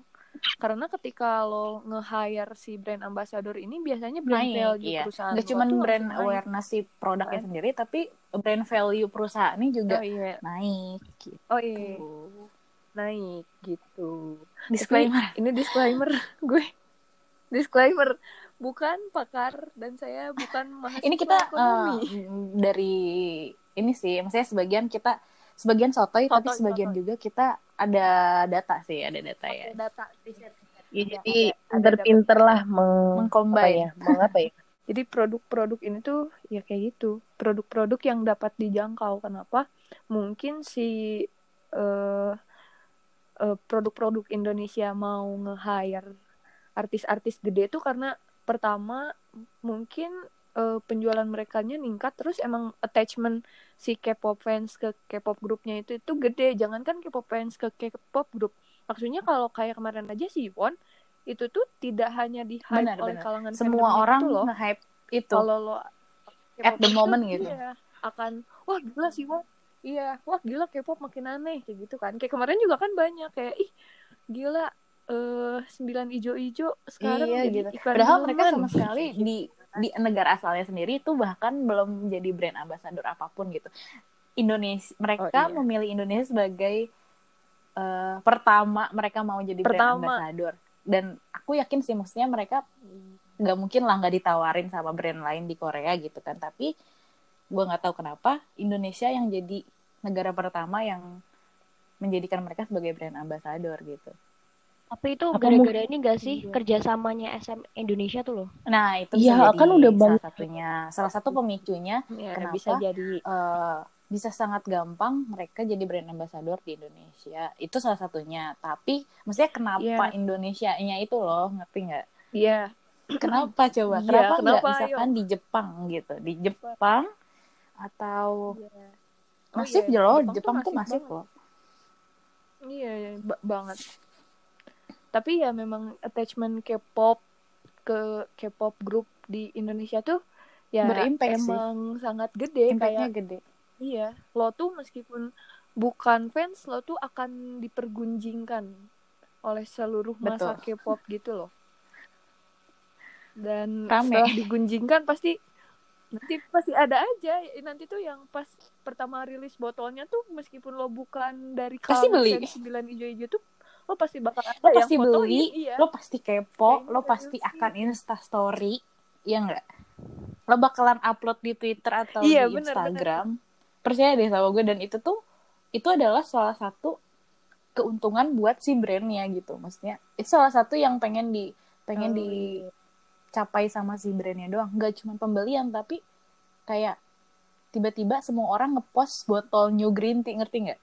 Speaker 1: Karena ketika lo nge-hire si brand ambassador ini biasanya brand
Speaker 2: Naik,
Speaker 1: value
Speaker 2: iya.
Speaker 1: perusahaan.
Speaker 2: Gak
Speaker 1: lo
Speaker 2: cuman
Speaker 1: Nah, tuh
Speaker 2: brand
Speaker 1: langsung naik.
Speaker 2: awareness si produknya sendiri, tapi brand value perusahaan ini juga
Speaker 1: Oh iya,
Speaker 2: naik gitu.
Speaker 1: oh iya, naik gitu.
Speaker 2: Disclaimer.
Speaker 1: ini disclaimer gue disclaimer bukan pakar dan saya bukan mahasiswa
Speaker 2: Ini kita
Speaker 1: ekonomi
Speaker 2: eh, dari ini sih, maksudnya sebagian kita sebagian sotoy, tapi
Speaker 1: Sotoy,
Speaker 2: sebagian
Speaker 1: sotoy.
Speaker 2: juga kita ada data sih, ada data ya.
Speaker 1: Pakai data riset. Ada-
Speaker 5: Ya, jadi
Speaker 1: ada- ada
Speaker 5: pinter-pinter
Speaker 1: dapat-
Speaker 5: lah meng apa
Speaker 2: Mengcombine.
Speaker 5: ya, mengapa ya?
Speaker 1: jadi produk-produk ini tuh ya kayak gitu produk-produk yang dapat dijangkau kenapa mungkin si eh, eh, produk-produk Indonesia mau nge-hire artis-artis gede tuh karena pertama mungkin eh, penjualan mereka ningkat terus emang attachment si K-pop fans ke K-pop grupnya itu itu gede jangankan K-pop fans ke K-pop grup maksudnya kalau kayak kemarin aja si Won itu tuh tidak hanya di hype
Speaker 2: Benar,
Speaker 1: oleh
Speaker 2: benar.
Speaker 1: kalangan
Speaker 2: Semua
Speaker 1: fandomnya
Speaker 2: orang
Speaker 1: itu loh
Speaker 2: nge-hype itu.
Speaker 1: kalau lo
Speaker 2: gitu. At the
Speaker 1: K-pop
Speaker 2: moment
Speaker 1: itu,
Speaker 2: gitu.
Speaker 1: iya, akan wah gila sih wah iya wah gila K-pop makin aneh kayak gitu kan kayak kemarin juga kan banyak kayak ih gila eh sembilan ijo-ijo sekarang
Speaker 2: Iya,
Speaker 1: jadi
Speaker 2: gitu.
Speaker 1: iklan
Speaker 2: Padahal
Speaker 1: minuman.
Speaker 2: mereka sama sekali di di negara asalnya sendiri itu bahkan belum menjadi brand ambassador apapun gitu. Indonesia mereka
Speaker 1: Oh, iya.
Speaker 2: memilih Indonesia sebagai eh, pertama mereka mau jadi brand
Speaker 1: Pertama.
Speaker 2: ambassador dan aku yakin sih maksudnya mereka nggak mungkin lah nggak ditawarin sama brand lain di Korea gitu kan tapi gua nggak tahu kenapa Indonesia yang jadi negara pertama yang menjadikan mereka sebagai brand ambassador gitu
Speaker 4: Tapi itu
Speaker 5: Apa
Speaker 4: gara-gara ini gak sih
Speaker 1: Iya.
Speaker 4: kerjasamanya SM Indonesia tuh loh?
Speaker 2: nah itu
Speaker 5: Iya,
Speaker 2: bisa jadi
Speaker 5: kan udah
Speaker 2: salah
Speaker 5: banyak.
Speaker 2: satunya salah satu pemicunya
Speaker 1: Ya,
Speaker 2: Kenapa?
Speaker 1: bisa jadi
Speaker 2: eh, bisa sangat gampang mereka jadi brand ambassador di Indonesia. Itu salah satunya. Tapi maksudnya
Speaker 1: Iya.
Speaker 2: kenapa Indonesianya itu loh, ngerti nggak?
Speaker 1: iya
Speaker 2: Kenapa
Speaker 1: Iya,
Speaker 2: coba? Kenapa nggak
Speaker 1: kenapa?
Speaker 2: misalkan di Jepang gitu? Di Jepang
Speaker 1: Oh,
Speaker 2: atau Iya. masif
Speaker 1: iya.
Speaker 2: ya loh,
Speaker 1: Jepang tuh
Speaker 2: Jepang tuh
Speaker 1: masif
Speaker 2: masif loh.
Speaker 1: Iya, iya, ba- banget. Tapi ya memang attachment K-pop ke K-pop grup di Indonesia tuh ya
Speaker 2: Berimpact sih.
Speaker 1: emang sangat gede
Speaker 2: Impactnya
Speaker 1: kayak
Speaker 2: gede.
Speaker 1: iya, lo tuh meskipun bukan fans lo tuh akan dipergunjingkan oleh seluruh masa K-pop gitu loh. Dan
Speaker 2: Rame.
Speaker 1: setelah digunjingkan pasti nanti pasti ada aja nanti tuh yang pas pertama rilis botolnya tuh meskipun lo bukan dari
Speaker 2: Pasti
Speaker 1: kalung
Speaker 2: beli.
Speaker 1: yang sembilan hijau-hijau tuh lo pasti bakal ada yang
Speaker 2: Lo pasti
Speaker 1: fotoin,
Speaker 2: beli,
Speaker 1: iya.
Speaker 2: lo pasti kepo,
Speaker 1: Kayaknya
Speaker 2: lo
Speaker 1: serius
Speaker 2: pasti
Speaker 1: gitu sih.
Speaker 2: akan insta story, ya enggak? Lo bakalan upload di Twitter atau
Speaker 1: Iya,
Speaker 2: di
Speaker 1: bener,
Speaker 2: Instagram. Percaya deh sama gue dan itu tuh itu adalah salah satu keuntungan buat si brandnya gitu, maksudnya itu salah satu yang pengen di pengen
Speaker 1: Oh,
Speaker 2: dicapai sama si brandnya doang, nggak cuma pembelian tapi kayak tiba-tiba semua orang ngepost botol New Green Tea ngerti nggak?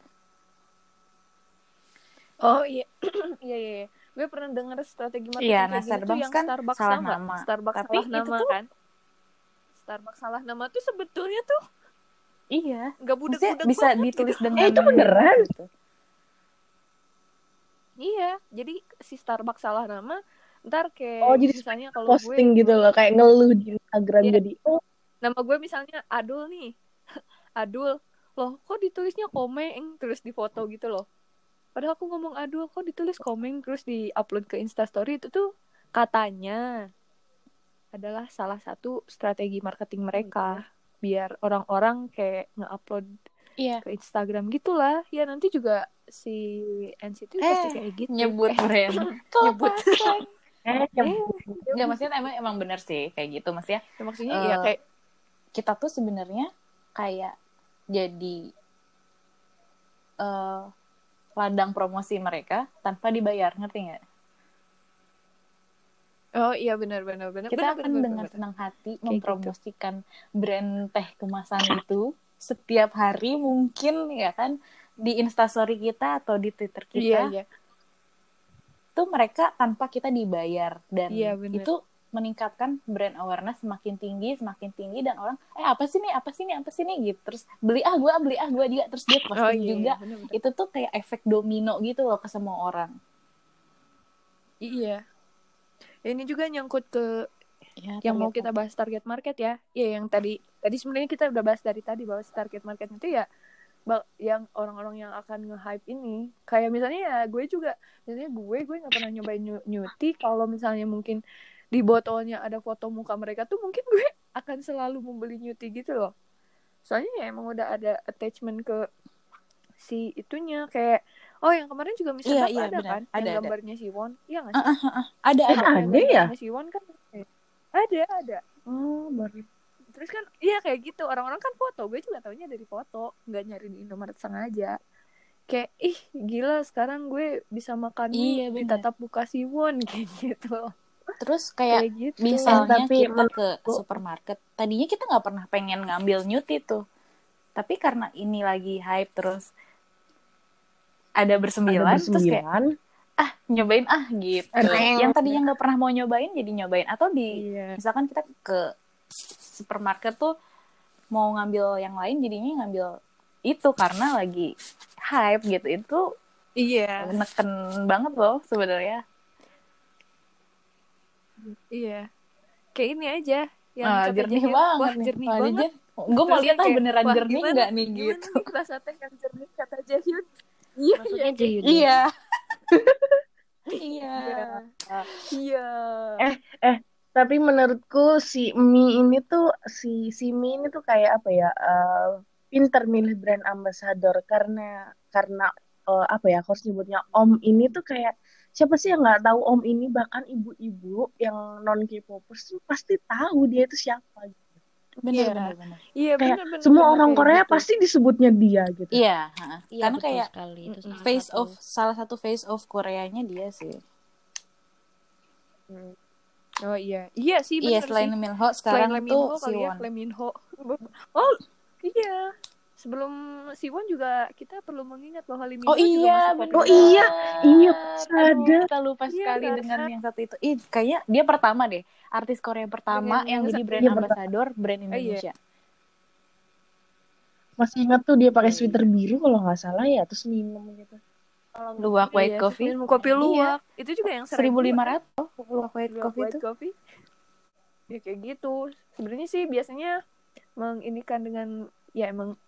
Speaker 1: oh iya iya iya iya. gue pernah dengar strategi marketing
Speaker 2: Iya,
Speaker 1: kayak
Speaker 2: nah,
Speaker 1: gini tuh
Speaker 2: Starbucks
Speaker 1: yang
Speaker 2: kan
Speaker 1: Starbucks
Speaker 2: salah
Speaker 1: nama.
Speaker 2: nama.
Speaker 1: Starbucks
Speaker 2: Tapi
Speaker 1: salah
Speaker 2: itu
Speaker 1: nama
Speaker 2: tuh-
Speaker 1: kan Starbucks salah nama tuh sebetulnya tuh
Speaker 2: Iya.
Speaker 1: nggak
Speaker 2: Maksudnya
Speaker 1: budak-budak
Speaker 2: bisa
Speaker 1: banget gitu.
Speaker 2: ditulis dengan
Speaker 5: Eh, itu beneran?
Speaker 2: gitu.
Speaker 1: Iya, jadi si Starbucks salah nama, ntar kayak
Speaker 5: Oh, jadi
Speaker 1: misalnya kalau
Speaker 5: posting
Speaker 1: gue
Speaker 5: gitu loh kayak ngeluh di Instagram
Speaker 1: Iya.
Speaker 5: jadi oh
Speaker 1: nama gue misalnya Adul nih. Adul. Loh, kok ditulisnya Komeng terus di foto gitu loh. Padahal aku ngomong Adul, kok ditulis Komeng terus di-upload ke Insta story itu tuh katanya adalah salah satu strategi marketing mereka biar orang-orang kayak nge-upload
Speaker 2: Iya.
Speaker 1: ke Instagram gitulah. Ya nanti juga si NCT pasti
Speaker 2: Eh,
Speaker 1: kayak gitu.
Speaker 2: Nyebut brand. nyebut.
Speaker 5: eh,
Speaker 2: Enggak maksudnya emang emang bener sih kayak gitu maksudnya.
Speaker 1: Ya, maksudnya ya
Speaker 2: Eh,
Speaker 1: kayak
Speaker 2: Kita tuh sebenarnya kayak jadi eh ladang promosi mereka tanpa dibayar, ngerti nggak?
Speaker 1: Oh iya benar benar benar. benar,
Speaker 2: Kita akan
Speaker 1: benar,
Speaker 2: dengan
Speaker 1: benar.
Speaker 2: senang hati
Speaker 1: gitu.
Speaker 2: mempromosikan brand teh kemasan itu setiap hari mungkin ya kan di instastory kita atau di twitter kita
Speaker 1: Iya iya.
Speaker 2: itu mereka tanpa kita dibayar dan
Speaker 1: Iya, bener.
Speaker 2: itu meningkatkan brand awareness semakin tinggi semakin tinggi dan orang eh apa sih nih apa sih nih apa sih nih gitu terus beli ah gue beli ah gue juga terus dia posting
Speaker 1: Oh, iya,
Speaker 2: juga
Speaker 1: iya, benar, benar.
Speaker 2: itu tuh kayak efek domino gitu loh ke semua orang
Speaker 1: Iya. Ini juga nyangkut ke
Speaker 2: ya,
Speaker 1: yang mau kita bahas target market ya. Iya yang tadi tadi sebenarnya kita udah bahas dari tadi bahwa target market itu ya ba- yang orang-orang yang akan nge-hype ini kayak misalnya ya gue juga misalnya gue gue nggak pernah nyobain nyu- nyuti kalau misalnya mungkin di botolnya ada foto muka mereka tuh mungkin gue akan selalu membeli nyuti gitu loh soalnya ya emang udah ada attachment ke si itunya kayak oh yang kemarin juga
Speaker 2: Iya,
Speaker 1: misalnya
Speaker 2: iya,
Speaker 1: ada
Speaker 2: benar.
Speaker 1: kan
Speaker 2: Ada,
Speaker 1: yang
Speaker 2: ada.
Speaker 1: gambarnya si Won iya nggak sih?
Speaker 2: ada
Speaker 5: Eh,
Speaker 2: ada
Speaker 5: ada ya?
Speaker 1: Gambarnya si Won kan eh, ada ada
Speaker 5: oh baru
Speaker 1: terus kan iya kayak gitu orang-orang kan foto gue juga taunya dari foto nggak nyari di Indomaret sengaja kayak ih gila sekarang gue bisa makan mie
Speaker 2: Iya,
Speaker 1: di
Speaker 2: bener.
Speaker 1: tatap muka Siwon kayak gitu
Speaker 2: terus
Speaker 1: kayak,
Speaker 2: kayak
Speaker 1: gitu
Speaker 2: misalnya
Speaker 5: tapi
Speaker 2: kita ke supermarket tadinya kita nggak pernah pengen ngambil nyuti tuh tapi karena ini lagi hype terus ada
Speaker 5: ada
Speaker 2: bersembilan, terus kayak
Speaker 5: bersembilan
Speaker 2: ah nyobain ah gitu
Speaker 5: Ada yang-
Speaker 2: yang tadinya nggak pernah mau nyobain jadi nyobain atau di
Speaker 1: iya
Speaker 2: misalkan kita ke supermarket tuh mau ngambil yang lain jadinya ngambil itu karena lagi hype gitu itu
Speaker 1: iya
Speaker 2: neken banget loh sebenarnya
Speaker 1: iya kayak ini aja yang
Speaker 2: Ah,
Speaker 1: kata
Speaker 2: jernih
Speaker 1: Jajan,
Speaker 2: banget
Speaker 1: wah
Speaker 2: nih.
Speaker 1: jernih
Speaker 2: Wah,
Speaker 1: banget
Speaker 2: Jajan, gue mau
Speaker 1: Terus kan
Speaker 2: lihat ah
Speaker 1: kayak,
Speaker 2: beneran
Speaker 1: wah,
Speaker 2: jernih
Speaker 1: gimana-
Speaker 2: nggak nih
Speaker 1: gimana
Speaker 2: gitu
Speaker 1: nih rasa teh yang jernih kata Jahyun iya
Speaker 4: Maksudnya Jahyun.
Speaker 2: iya
Speaker 1: iya
Speaker 2: iya
Speaker 1: iya
Speaker 5: tapi menurutku si Mi ini tuh si si Mi ini tuh kayak apa ya eh, pinter milih brand ambassador karena karena eh, apa ya aku harus nyebutnya Om ini tuh kayak siapa sih yang nggak tahu Om ini bahkan ibu-ibu yang non K-popers tuh pasti tahu dia itu siapa
Speaker 2: bener
Speaker 1: Iya.
Speaker 2: bener bener
Speaker 1: iya
Speaker 5: Kayak
Speaker 1: bener-bener
Speaker 5: semua orang
Speaker 1: kayak
Speaker 5: Korea
Speaker 1: gitu.
Speaker 5: pasti disebutnya dia gitu
Speaker 2: iya ha.
Speaker 4: Iya,
Speaker 2: karena
Speaker 4: betul
Speaker 2: kayak
Speaker 4: sekali. Itu salah
Speaker 2: face
Speaker 4: satu.
Speaker 2: of salah satu face of Koreanya dia sih
Speaker 1: oh iya iya sih
Speaker 2: iya
Speaker 1: bener
Speaker 2: selain
Speaker 1: sih.
Speaker 2: Minho
Speaker 1: selain
Speaker 2: sekarang
Speaker 1: Leminho
Speaker 2: tuh
Speaker 1: kali ya
Speaker 2: Siwon
Speaker 1: Leminho oh iya sebelum Siwon juga kita perlu mengingat bahwa Leminho
Speaker 2: Oh iya,
Speaker 1: juga masuk
Speaker 2: bener.
Speaker 5: Oh iya, iya, sadar.
Speaker 2: Aduh, kita lupa
Speaker 1: Iya,
Speaker 2: sekali
Speaker 1: sadar.
Speaker 2: dengan yang satu itu. Ih, kayaknya dia pertama deh, artis Korea pertama
Speaker 1: Dengan yang
Speaker 2: yang jadi
Speaker 1: sa-
Speaker 2: brand
Speaker 5: iya,
Speaker 2: ambassador brand Indonesia.
Speaker 5: masih ingat tuh dia pakai
Speaker 2: Iya.
Speaker 5: sweater biru kalau nggak salah ya terus minum gitu
Speaker 2: Luwak White
Speaker 1: Iya,
Speaker 2: Coffee.
Speaker 1: minum kopi luwak itu juga yang
Speaker 2: Seribu lima
Speaker 1: kan?
Speaker 2: ratus Luwak White
Speaker 1: Luwak
Speaker 2: Coffee
Speaker 1: white
Speaker 2: itu.
Speaker 1: coffee ya kayak gitu sebenarnya sih biasanya menginikan dengan ya emang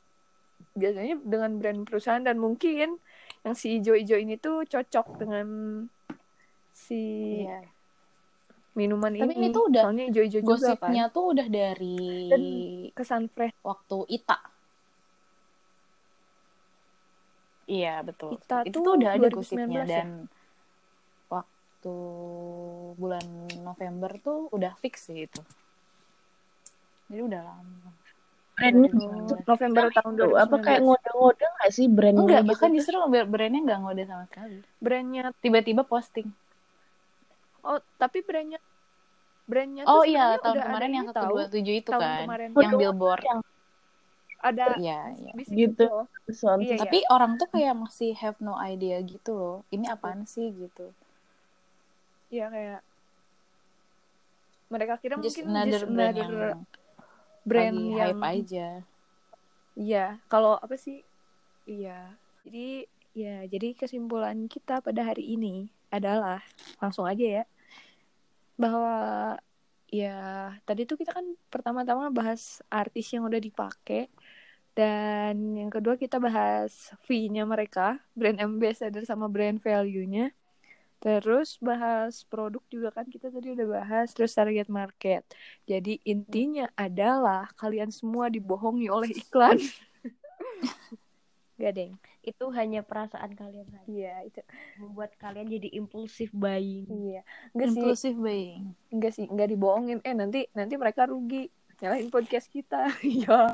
Speaker 1: biasanya dengan brand perusahaan dan mungkin yang si ijo-ijo ini tuh cocok dengan si
Speaker 2: Iya.
Speaker 1: minuman
Speaker 2: Tapi
Speaker 1: ini.
Speaker 2: ini tuh udah
Speaker 1: soalnya hijau-hijau juga kan.
Speaker 2: Gosipnya tuh udah dari
Speaker 1: Kesan fresh
Speaker 2: waktu Ita. Iya, betul.
Speaker 1: Ita
Speaker 2: itu
Speaker 1: tuh
Speaker 2: tuh udah ada
Speaker 1: 2019
Speaker 2: gosipnya
Speaker 1: ya?
Speaker 2: dan waktu bulan November tuh udah fix sih itu. Jadi udah lama.
Speaker 5: Brandnya
Speaker 1: Iya. Oh,
Speaker 2: 2019.
Speaker 1: November tahun
Speaker 5: tuh,
Speaker 1: 2019.
Speaker 5: apa kayak ngode-ngode nggak sih gitu? brand
Speaker 2: Enggak,
Speaker 1: gitu,
Speaker 2: bahkan justru brandnya nggak ngode sama sekali.
Speaker 1: brandnya
Speaker 2: Tiba-tiba posting.
Speaker 1: Nah, oh tapi brandnya brandnya tuh
Speaker 2: Oh iya,
Speaker 1: sebenarnya
Speaker 2: tahun
Speaker 1: udah ada
Speaker 2: kemarin yang
Speaker 1: ini tahu,
Speaker 2: 127 itu
Speaker 1: tahun
Speaker 2: kan.
Speaker 1: kemarin
Speaker 2: Yang
Speaker 5: Betul.
Speaker 2: billboard.
Speaker 1: ada
Speaker 2: Iya, iya.
Speaker 1: bisnis
Speaker 5: Gitu.
Speaker 1: loh.
Speaker 5: Soalnya
Speaker 1: Iya,
Speaker 2: Tapi orang tuh kayak masih have no idea gitu loh. Ini apaan sih gitu.
Speaker 1: iya kayak mereka kira Ya, mungkin
Speaker 2: Just another
Speaker 1: just
Speaker 2: brand
Speaker 1: another
Speaker 2: yang
Speaker 1: brand
Speaker 2: lagi
Speaker 1: yang
Speaker 2: hype aja.
Speaker 1: Iya, kalau apa sih? Iya. Jadi ya, jadi kesimpulan kita pada hari ini adalah langsung aja ya bahwa ya tadi tuh kita kan pertama-tama bahas artis yang udah dipakai dan yang kedua kita bahas fee-nya mereka, brand ambassador sama brand value-nya. Terus bahas produk juga kan kita tadi udah bahas terus target market. Jadi intinya adalah kalian semua dibohongi oleh iklan. Gak deng.
Speaker 4: Itu hanya perasaan kalian saja.
Speaker 1: Iya itu.
Speaker 4: Membuat kalian jadi impulsif buying.
Speaker 1: Iya. Enggak sih.
Speaker 2: Inclusive buying.
Speaker 1: Enggak sih. Enggak dibohongin. Eh nanti nanti mereka rugi. Nyalain podcast kita. Iya.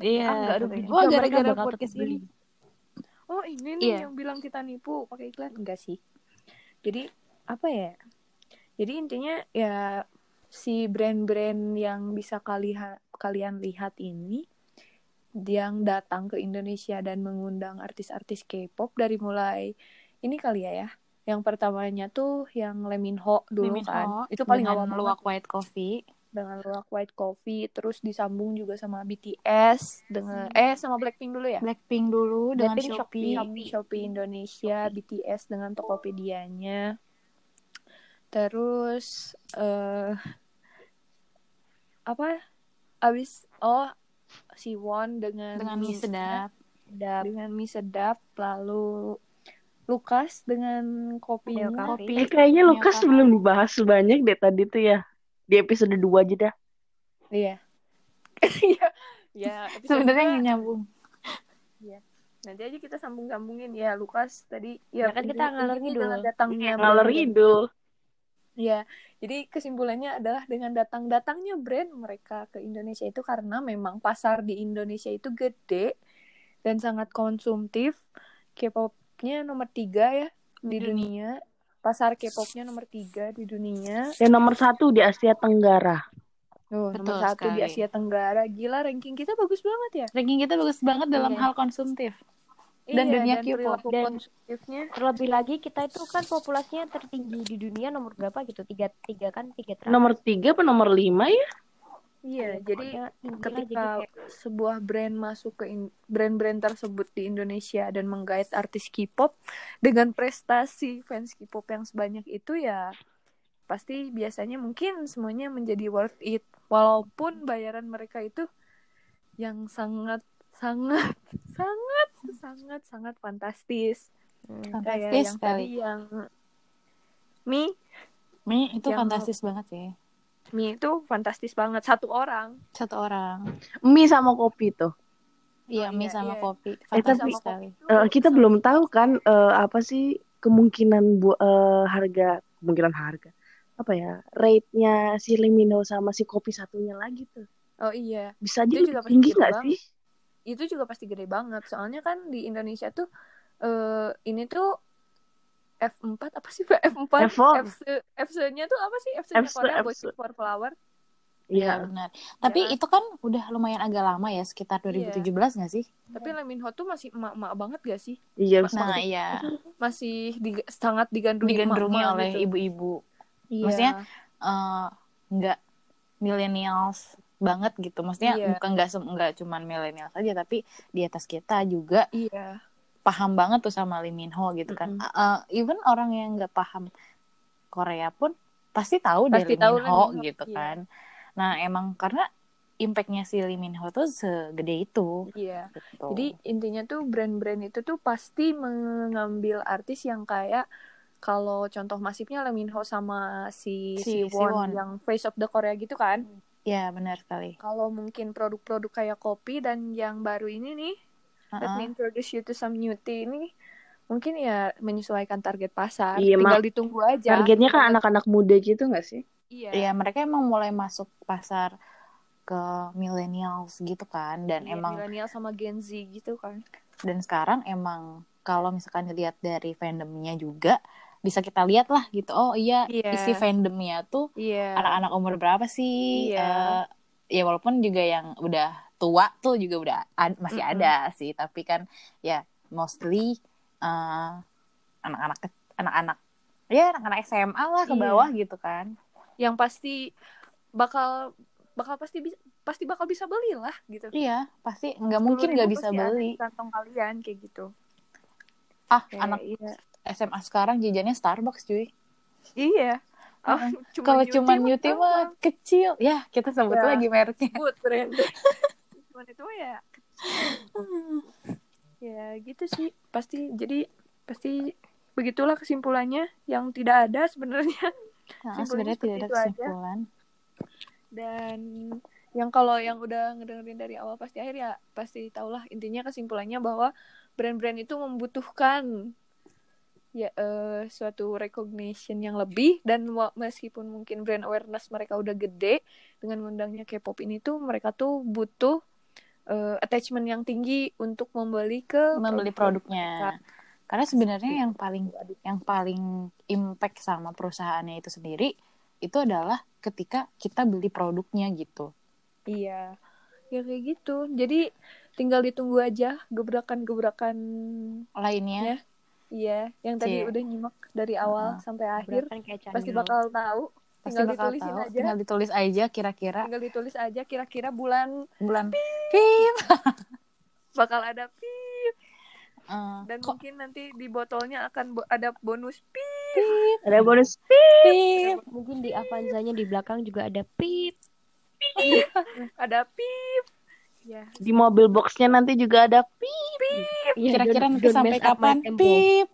Speaker 2: Iya.
Speaker 4: Ah, nggak rugi juga,
Speaker 2: Wah,
Speaker 4: mereka
Speaker 2: gara-gara
Speaker 4: bakal
Speaker 2: podcast
Speaker 4: tetep beli.
Speaker 2: ini.
Speaker 1: oh ini
Speaker 2: Iya.
Speaker 1: nih yang bilang kita nipu pakai iklan. Enggak sih. Jadi apa ya? Jadi intinya ya si brand-brand yang bisa kaliha- kalian lihat ini yang datang ke Indonesia dan mengundang artis-artis K-pop dari mulai ini kali ya ya. Yang pertamanya tuh yang Leminho dulu
Speaker 2: Mimin
Speaker 1: kan.
Speaker 2: Ho
Speaker 1: Itu paling awal
Speaker 2: dengan
Speaker 1: banget.
Speaker 2: luwak white coffee.
Speaker 1: dengan Luwak White Coffee terus disambung juga sama BTS dengan eh sama Blackpink dulu ya
Speaker 2: Blackpink dulu dengan
Speaker 1: Blackpink
Speaker 2: Shopee.
Speaker 1: Shopee, Iya. Shopee Indonesia BTS dengan Tokopedia-nya terus eh apa abis oh Siwon dengan
Speaker 2: Dengan mie sedap.
Speaker 1: sedap dengan mie sedap lalu Lukas dengan kopinya
Speaker 4: Milka.
Speaker 2: Kopi.
Speaker 5: Eh, kayaknya
Speaker 2: Iya,
Speaker 5: Lukas
Speaker 2: Kak.
Speaker 5: belum dibahas banyak deh tadi tuh ya. Di episode 2 aja dah.
Speaker 1: iya iya ya episode
Speaker 2: Sebenarnya
Speaker 1: dua-
Speaker 2: yang nyambung.
Speaker 1: Nanti aja kita sambung-sambungin ya Lukas tadi
Speaker 4: Ya kan kita
Speaker 1: intinya-
Speaker 4: ngalor
Speaker 1: intinya
Speaker 4: ngidul.
Speaker 1: dengan datangnya
Speaker 5: Iya, Ngalor
Speaker 1: brand.
Speaker 5: ngidul.
Speaker 1: Ya. Jadi kesimpulannya adalah dengan datang-datangnya brand mereka ke Indonesia itu karena memang pasar di Indonesia itu gede dan sangat konsumtif. K-popnya nomor tiga ya di dunia. Pasar K-popnya nomor tiga di dunia.
Speaker 5: Yang nomor satu di Asia Tenggara.
Speaker 1: Oh, nomor
Speaker 2: Betul
Speaker 1: satu di
Speaker 2: sekali.
Speaker 1: Asia Tenggara. Gila ranking kita bagus banget ya.
Speaker 2: Ranking kita bagus banget dalam
Speaker 4: Iya.
Speaker 2: hal konsumtif. Dan
Speaker 1: Iya,
Speaker 2: dunia
Speaker 1: dan
Speaker 2: K-pop.
Speaker 1: perilaku
Speaker 4: Dan-
Speaker 1: konsumtifnya
Speaker 4: Terlebih lagi kita itu kan populasinya tertinggi di dunia nomor berapa gitu? Tiga, tiga kan tiga teratas.
Speaker 5: Nomor tiga apa nomor lima ya?
Speaker 1: Iya,
Speaker 4: Ya,
Speaker 1: jadi
Speaker 4: pokoknya tinggi lah, jadi
Speaker 1: ketika
Speaker 4: kayak
Speaker 1: sebuah brand masuk ke in- brand-brand tersebut di Indonesia dan menggait artis K-pop dengan prestasi fans K-pop yang sebanyak itu ya pasti biasanya mungkin semuanya menjadi worth it walaupun bayaran mereka itu yang sangat sangat sangat sangat sangat fantastis
Speaker 4: Hmm.
Speaker 1: kayak
Speaker 2: Fantastis
Speaker 1: iya, yang
Speaker 2: sekali.
Speaker 1: tadi yang Mi
Speaker 2: Mie itu
Speaker 1: Yang-
Speaker 2: fantastis banget sih.
Speaker 1: Mi itu fantastis banget satu orang
Speaker 2: Satu orang.
Speaker 5: Mie sama kopi tuh.
Speaker 1: Oh,
Speaker 2: Iya, mie
Speaker 1: iya,
Speaker 2: sama
Speaker 1: iya.
Speaker 2: kopi.
Speaker 5: Eh,
Speaker 2: Fantastis
Speaker 1: sama
Speaker 2: sekali.
Speaker 1: kopi itu
Speaker 5: Eh, kita
Speaker 1: Oh, sama-
Speaker 5: belum tahu kan eh, apa sih kemungkinan bu eh, harga kemungkinan harga apa ya rate-nya si Limino sama si kopi satunya lagi tuh
Speaker 1: oh iya
Speaker 5: bisa aja
Speaker 1: Itu
Speaker 5: lebih
Speaker 1: juga pasti
Speaker 5: tinggi
Speaker 1: gede
Speaker 5: nggak
Speaker 1: banget.
Speaker 5: sih?
Speaker 1: itu juga pasti gede banget. Soalnya kan di Indonesia tuh eh ini tuh F4 apa sih F4
Speaker 5: F4.
Speaker 1: FC-nya tuh apa sih FC-nya
Speaker 5: F4,
Speaker 1: Korea
Speaker 5: F4.
Speaker 1: Boys for Flower.
Speaker 2: Iya,
Speaker 5: Iya.
Speaker 2: benar. Tapi
Speaker 1: Ya.
Speaker 2: itu kan udah lumayan agak lama ya, sekitar 2017 nggak sih?
Speaker 1: Tapi Leminho tuh masih emak-emak banget gak sih?
Speaker 5: Iya.
Speaker 2: Nah, iya.
Speaker 1: Masih di- sangat digandrungi,
Speaker 2: Digandrungi
Speaker 1: emak-emak
Speaker 2: oleh
Speaker 1: gitu.
Speaker 2: ibu-ibu.
Speaker 1: Iya.
Speaker 2: Maksudnya, eh, nggak millennials banget gitu. Maksudnya
Speaker 1: Iya.
Speaker 2: bukan nggak sem- nggak cuman millennials aja, tapi di atas kita juga
Speaker 1: iya.
Speaker 2: paham banget tuh sama Lee Min Ho gitu kan.
Speaker 1: Mm-mm.
Speaker 2: Eh, eh, even orang yang nggak paham Korea pun pasti tahu
Speaker 1: Pasti
Speaker 2: dari Lee
Speaker 1: tahu
Speaker 2: Min
Speaker 1: Lee
Speaker 2: Ho
Speaker 1: Min Ho,
Speaker 2: gitu
Speaker 1: iya.
Speaker 2: kan. Nah, emang karena impactnya si Lee Min Ho tuh segede itu.
Speaker 1: Iya.
Speaker 2: Gitu.
Speaker 1: Jadi intinya tuh brand-brand itu tuh pasti mengambil artis yang kayak Kalau contoh masifnya Lee Min Ho sama si si,
Speaker 2: Si- si
Speaker 1: Won
Speaker 2: Won.
Speaker 1: yang Face of the Korea gitu kan.
Speaker 2: Ya benar sekali.
Speaker 1: Kalau mungkin produk-produk kayak kopi dan yang baru ini nih, let me
Speaker 2: Heeh.
Speaker 1: introduce you to some new tea ini mungkin ya menyesuaikan target pasar.
Speaker 5: Iya,
Speaker 1: Tinggal ditunggu aja.
Speaker 5: Targetnya kan anak-anak muda gitu nggak sih?
Speaker 1: Iya.
Speaker 2: Iya mereka emang mulai masuk pasar ke millennials gitu kan dan
Speaker 1: Iya,
Speaker 2: emang
Speaker 1: milenial sama Gen Z gitu kan.
Speaker 2: dan sekarang emang kalau misalkan dilihat dari fandomnya juga bisa kita lihat lah gitu oh iya
Speaker 1: Iya.
Speaker 2: isi fandomnya tuh
Speaker 1: Iya.
Speaker 2: anak-anak umur berapa sih
Speaker 1: Iya.
Speaker 2: Eh, ya walaupun juga yang udah tua tuh juga udah ad- masih
Speaker 1: Mm-mm.
Speaker 2: ada sih tapi kan ya mostly eh, anak-anak ke- anak-anak ya anak-anak SMA lah ke
Speaker 1: Iya.
Speaker 2: bawah gitu kan
Speaker 1: Yang pasti bakal bakal pasti bisa pasti bakal bisa belilah gitu.
Speaker 2: Iya, pasti nggak mungkin nggak
Speaker 1: 10.000
Speaker 2: bisa
Speaker 1: pasti ada di
Speaker 2: beli.
Speaker 1: kantong kalian kayak gitu.
Speaker 2: Ah,
Speaker 1: Kayak,
Speaker 2: anak
Speaker 1: iya.
Speaker 2: SMA sekarang jajannya Starbucks cuy.
Speaker 1: Iya. Oh,
Speaker 2: Heeh.
Speaker 1: cuma
Speaker 2: Kalau
Speaker 1: Yuti
Speaker 2: cuman
Speaker 1: mah
Speaker 2: Yuti mah kecil. Ya, kita sebut
Speaker 1: Ya.
Speaker 2: lagi mereknya.
Speaker 1: sebut brand. cuman itu mah ya ya gitu sih. Pasti jadi pasti begitulah kesimpulannya yang tidak ada sebenarnya
Speaker 2: Nah,
Speaker 1: Kesimpulannya
Speaker 2: sebenarnya tidak
Speaker 1: seperti itu
Speaker 2: ada
Speaker 1: gitu aja.
Speaker 2: kesimpulan.
Speaker 1: dan yang kalau yang udah ngedengerin dari awal pasti akhir ya pasti tahulah intinya kesimpulannya bahwa brand-brand itu membutuhkan ya eh, suatu recognition yang lebih dan wa- meskipun mungkin brand awareness mereka udah gede dengan ngundangnya K-pop ini tuh mereka tuh butuh eh, attachment yang tinggi untuk membeli ke
Speaker 2: Membeli produknya. Karena sebenarnya yang paling yang paling impact sama perusahaannya itu sendiri itu adalah ketika kita beli produknya gitu.
Speaker 1: Iya, ya kayak gitu. Jadi tinggal ditunggu aja gebrakan-gebrakan
Speaker 2: Lainnya
Speaker 1: iya yang tadi
Speaker 2: Iya.
Speaker 1: udah nyimak dari awal sampai akhir
Speaker 4: Berapa kayak Iya. candil.
Speaker 1: pasti bakal tahu.
Speaker 2: pasti
Speaker 1: Tinggal
Speaker 2: bakal
Speaker 1: ditulisin
Speaker 2: tahu.
Speaker 1: aja.
Speaker 2: Tinggal ditulis aja kira-kira
Speaker 1: Tinggal ditulis aja kira-kira bulan
Speaker 2: bulan
Speaker 1: bakal ada pip
Speaker 2: eh,
Speaker 1: dan
Speaker 2: kok
Speaker 1: mungkin nanti di botolnya akan bo- ada bonus pip.
Speaker 5: Ada bonus
Speaker 2: pip?
Speaker 4: Mungkin di Avanzanya di belakang juga ada pip.
Speaker 1: Ada pip. Ya,
Speaker 5: di mobil boxnya nanti juga ada pi.
Speaker 4: Iya,
Speaker 2: kira-kira
Speaker 4: don't-
Speaker 2: nanti
Speaker 4: don't
Speaker 2: sampai
Speaker 4: mess up my
Speaker 2: kapan
Speaker 4: tempo.
Speaker 2: pip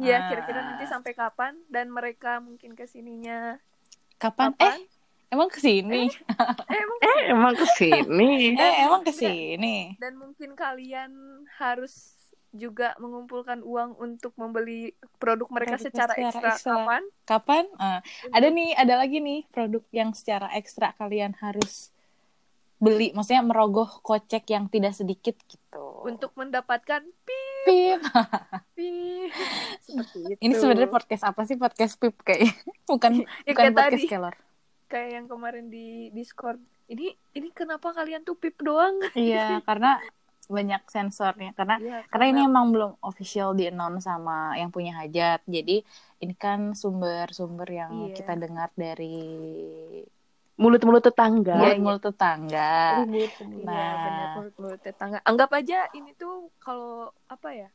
Speaker 1: ya
Speaker 2: Ah.
Speaker 1: kira-kira nanti sampai kapan dan mereka mungkin kesininya
Speaker 2: kapan, eh
Speaker 1: kapan?
Speaker 2: emang kesini
Speaker 1: Eh, emang
Speaker 5: Eh
Speaker 2: Iya,
Speaker 5: emang kesini.
Speaker 2: eh, emang kesini
Speaker 1: dan mungkin kalian harus juga mengumpulkan uang untuk membeli produk mereka
Speaker 2: Produk
Speaker 1: secara,
Speaker 2: secara
Speaker 1: ekstra,
Speaker 2: ekstra.
Speaker 1: kapan?
Speaker 2: kapan Eh,
Speaker 1: Hmm.
Speaker 2: ada nih ada lagi nih produk yang secara ekstra kalian harus beli maksudnya merogoh kocek yang tidak sedikit gitu
Speaker 1: Untuk mendapatkan
Speaker 2: pip
Speaker 1: pipi. Seperti itu.
Speaker 2: ini sebenarnya podcast apa sih podcast pip kayaknya bukan
Speaker 1: Ya,
Speaker 2: bukan
Speaker 1: kayak
Speaker 2: podcast
Speaker 1: tadi
Speaker 2: kelor
Speaker 1: kayak yang kemarin di Discord. Ini ini kenapa kalian tuh pip doang?
Speaker 2: iya karena banyak sensornya karena
Speaker 1: Iya,
Speaker 2: Karena ini emang belum official di announce sama yang punya hajat. Jadi ini kan sumber-sumber yang
Speaker 1: Iya.
Speaker 2: kita dengar dari
Speaker 5: Mulut-mulut tetangga.
Speaker 1: Iya.
Speaker 2: mulut-mulut tetangga.
Speaker 4: Ribut.
Speaker 1: Iya,
Speaker 2: Nah.
Speaker 1: benar menurut tetangga. Anggap aja ini tuh kalau apa ya?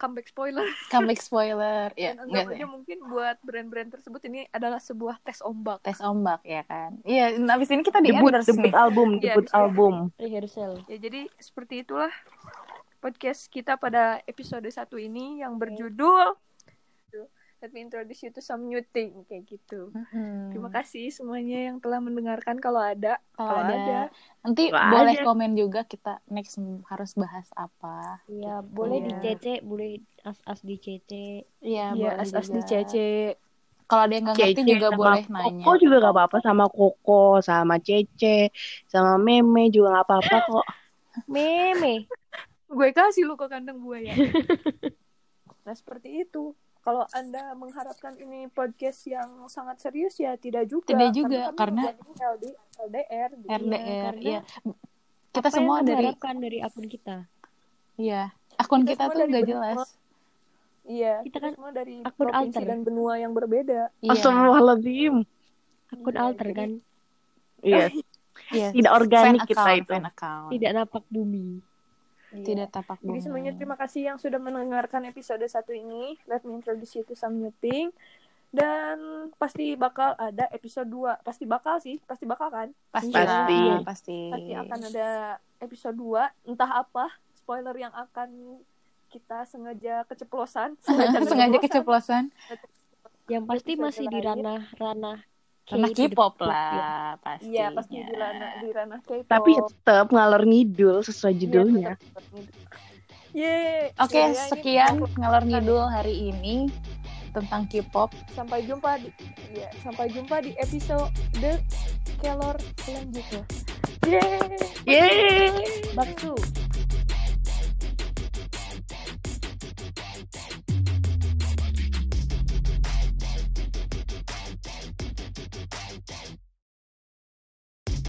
Speaker 1: comeback spoiler
Speaker 2: Comeback spoiler ya,
Speaker 1: dan
Speaker 2: enggak
Speaker 1: anggap
Speaker 2: sih?
Speaker 1: aja mungkin buat brand-brand tersebut ini adalah sebuah tes ombak.
Speaker 2: Tes ombak ya kan. Iya, nah, abis ini kita di
Speaker 5: Debut,
Speaker 2: endorse
Speaker 5: debut
Speaker 2: nih.
Speaker 5: album,
Speaker 1: Iya,
Speaker 5: debut
Speaker 1: iya.
Speaker 5: album.
Speaker 4: Rehearsal.
Speaker 1: Ya jadi seperti itulah podcast kita pada episode satu ini yang berjudul Let me introduce you to some new thing kayak gitu.
Speaker 2: Mm-mm.
Speaker 1: Terima kasih semuanya yang telah mendengarkan kalau ada,
Speaker 2: Kalau ada, nanti
Speaker 5: Kalau
Speaker 2: boleh
Speaker 5: ada.
Speaker 2: komen juga kita next harus bahas apa.
Speaker 4: Iya, boleh di
Speaker 1: Iya.
Speaker 4: CC, boleh as-as di CC.
Speaker 2: Iya,
Speaker 1: Ya,
Speaker 2: boleh
Speaker 1: as-as di
Speaker 2: juga.
Speaker 1: CC.
Speaker 2: Kalau ada yang nggak ngerti
Speaker 5: Cece
Speaker 2: juga
Speaker 5: sama Oh,
Speaker 2: boleh nanya.
Speaker 5: Koko juga gak apa-apa sama Koko, sama Cece, sama Meme juga gak apa-apa
Speaker 2: Iya.
Speaker 5: kok.
Speaker 4: Meme.
Speaker 1: Gue kasih lu ke kandang buaya. nah, seperti itu. Kalau Anda mengharapkan ini podcast yang sangat serius ya tidak juga.
Speaker 2: Tidak juga, karena-
Speaker 1: kami menjadi LD, LDR gitu.
Speaker 2: RDR,
Speaker 4: karena
Speaker 2: iya. Kita
Speaker 4: Apa yang
Speaker 2: semua
Speaker 4: kamu
Speaker 2: dari
Speaker 4: harapkan dari akun kita?
Speaker 2: Iya, akun
Speaker 1: Kita
Speaker 2: kita,
Speaker 1: semua
Speaker 2: tuh
Speaker 1: dari
Speaker 2: nggak
Speaker 1: benua.
Speaker 2: jelas.
Speaker 1: Iya,
Speaker 4: Kita
Speaker 1: kita
Speaker 4: kan
Speaker 1: semua dari
Speaker 4: akun
Speaker 1: provinsi
Speaker 4: alter.
Speaker 1: dan benua yang berbeda.
Speaker 5: Oh,
Speaker 2: Iya,
Speaker 5: Astagfirullahaladzim.
Speaker 4: Akun
Speaker 1: Iya,
Speaker 4: alter
Speaker 1: jadi-
Speaker 4: kan,
Speaker 5: Iya,
Speaker 2: iya.
Speaker 5: tidak organik
Speaker 2: Fan
Speaker 5: kita
Speaker 2: account,
Speaker 5: itu.
Speaker 2: fan account. Tidak,
Speaker 4: tidak napak bumi.
Speaker 1: Iya.
Speaker 2: tapak
Speaker 1: Jadi
Speaker 2: bumi.
Speaker 1: semuanya terima kasih yang sudah mendengarkan episode satu ini. Let me introduce you to some new thing. Dan pasti bakal ada episode 2. Pasti bakal sih, pasti bakal kan?
Speaker 2: Pasti,
Speaker 5: Pasti.
Speaker 2: lah, pasti.
Speaker 1: Pasti akan ada episode 2, entah apa spoiler yang akan kita sengaja keceplosan,
Speaker 2: sengaja keceplosan
Speaker 4: yang pasti
Speaker 1: Bisa
Speaker 4: masih di
Speaker 1: dilanjut.
Speaker 4: ranah ranah
Speaker 2: karena K-pop
Speaker 4: K-pop ya.
Speaker 2: lah pastinya
Speaker 1: Iya, pasti di ranah di ranah K-pop.
Speaker 5: Tapi ya tetap ngalor ngidul
Speaker 2: Iya,
Speaker 5: sesuai judulnya.
Speaker 1: Yeay.
Speaker 2: Oke,
Speaker 1: Ya, ya, ini
Speaker 2: sekian
Speaker 1: kita-
Speaker 2: ngalor ngidul hari ini tentang K-pop.
Speaker 1: Sampai jumpa di ya, sampai jumpa di episode Kelor selanjutnya. Yeay.
Speaker 5: Yeay.
Speaker 1: Bakso.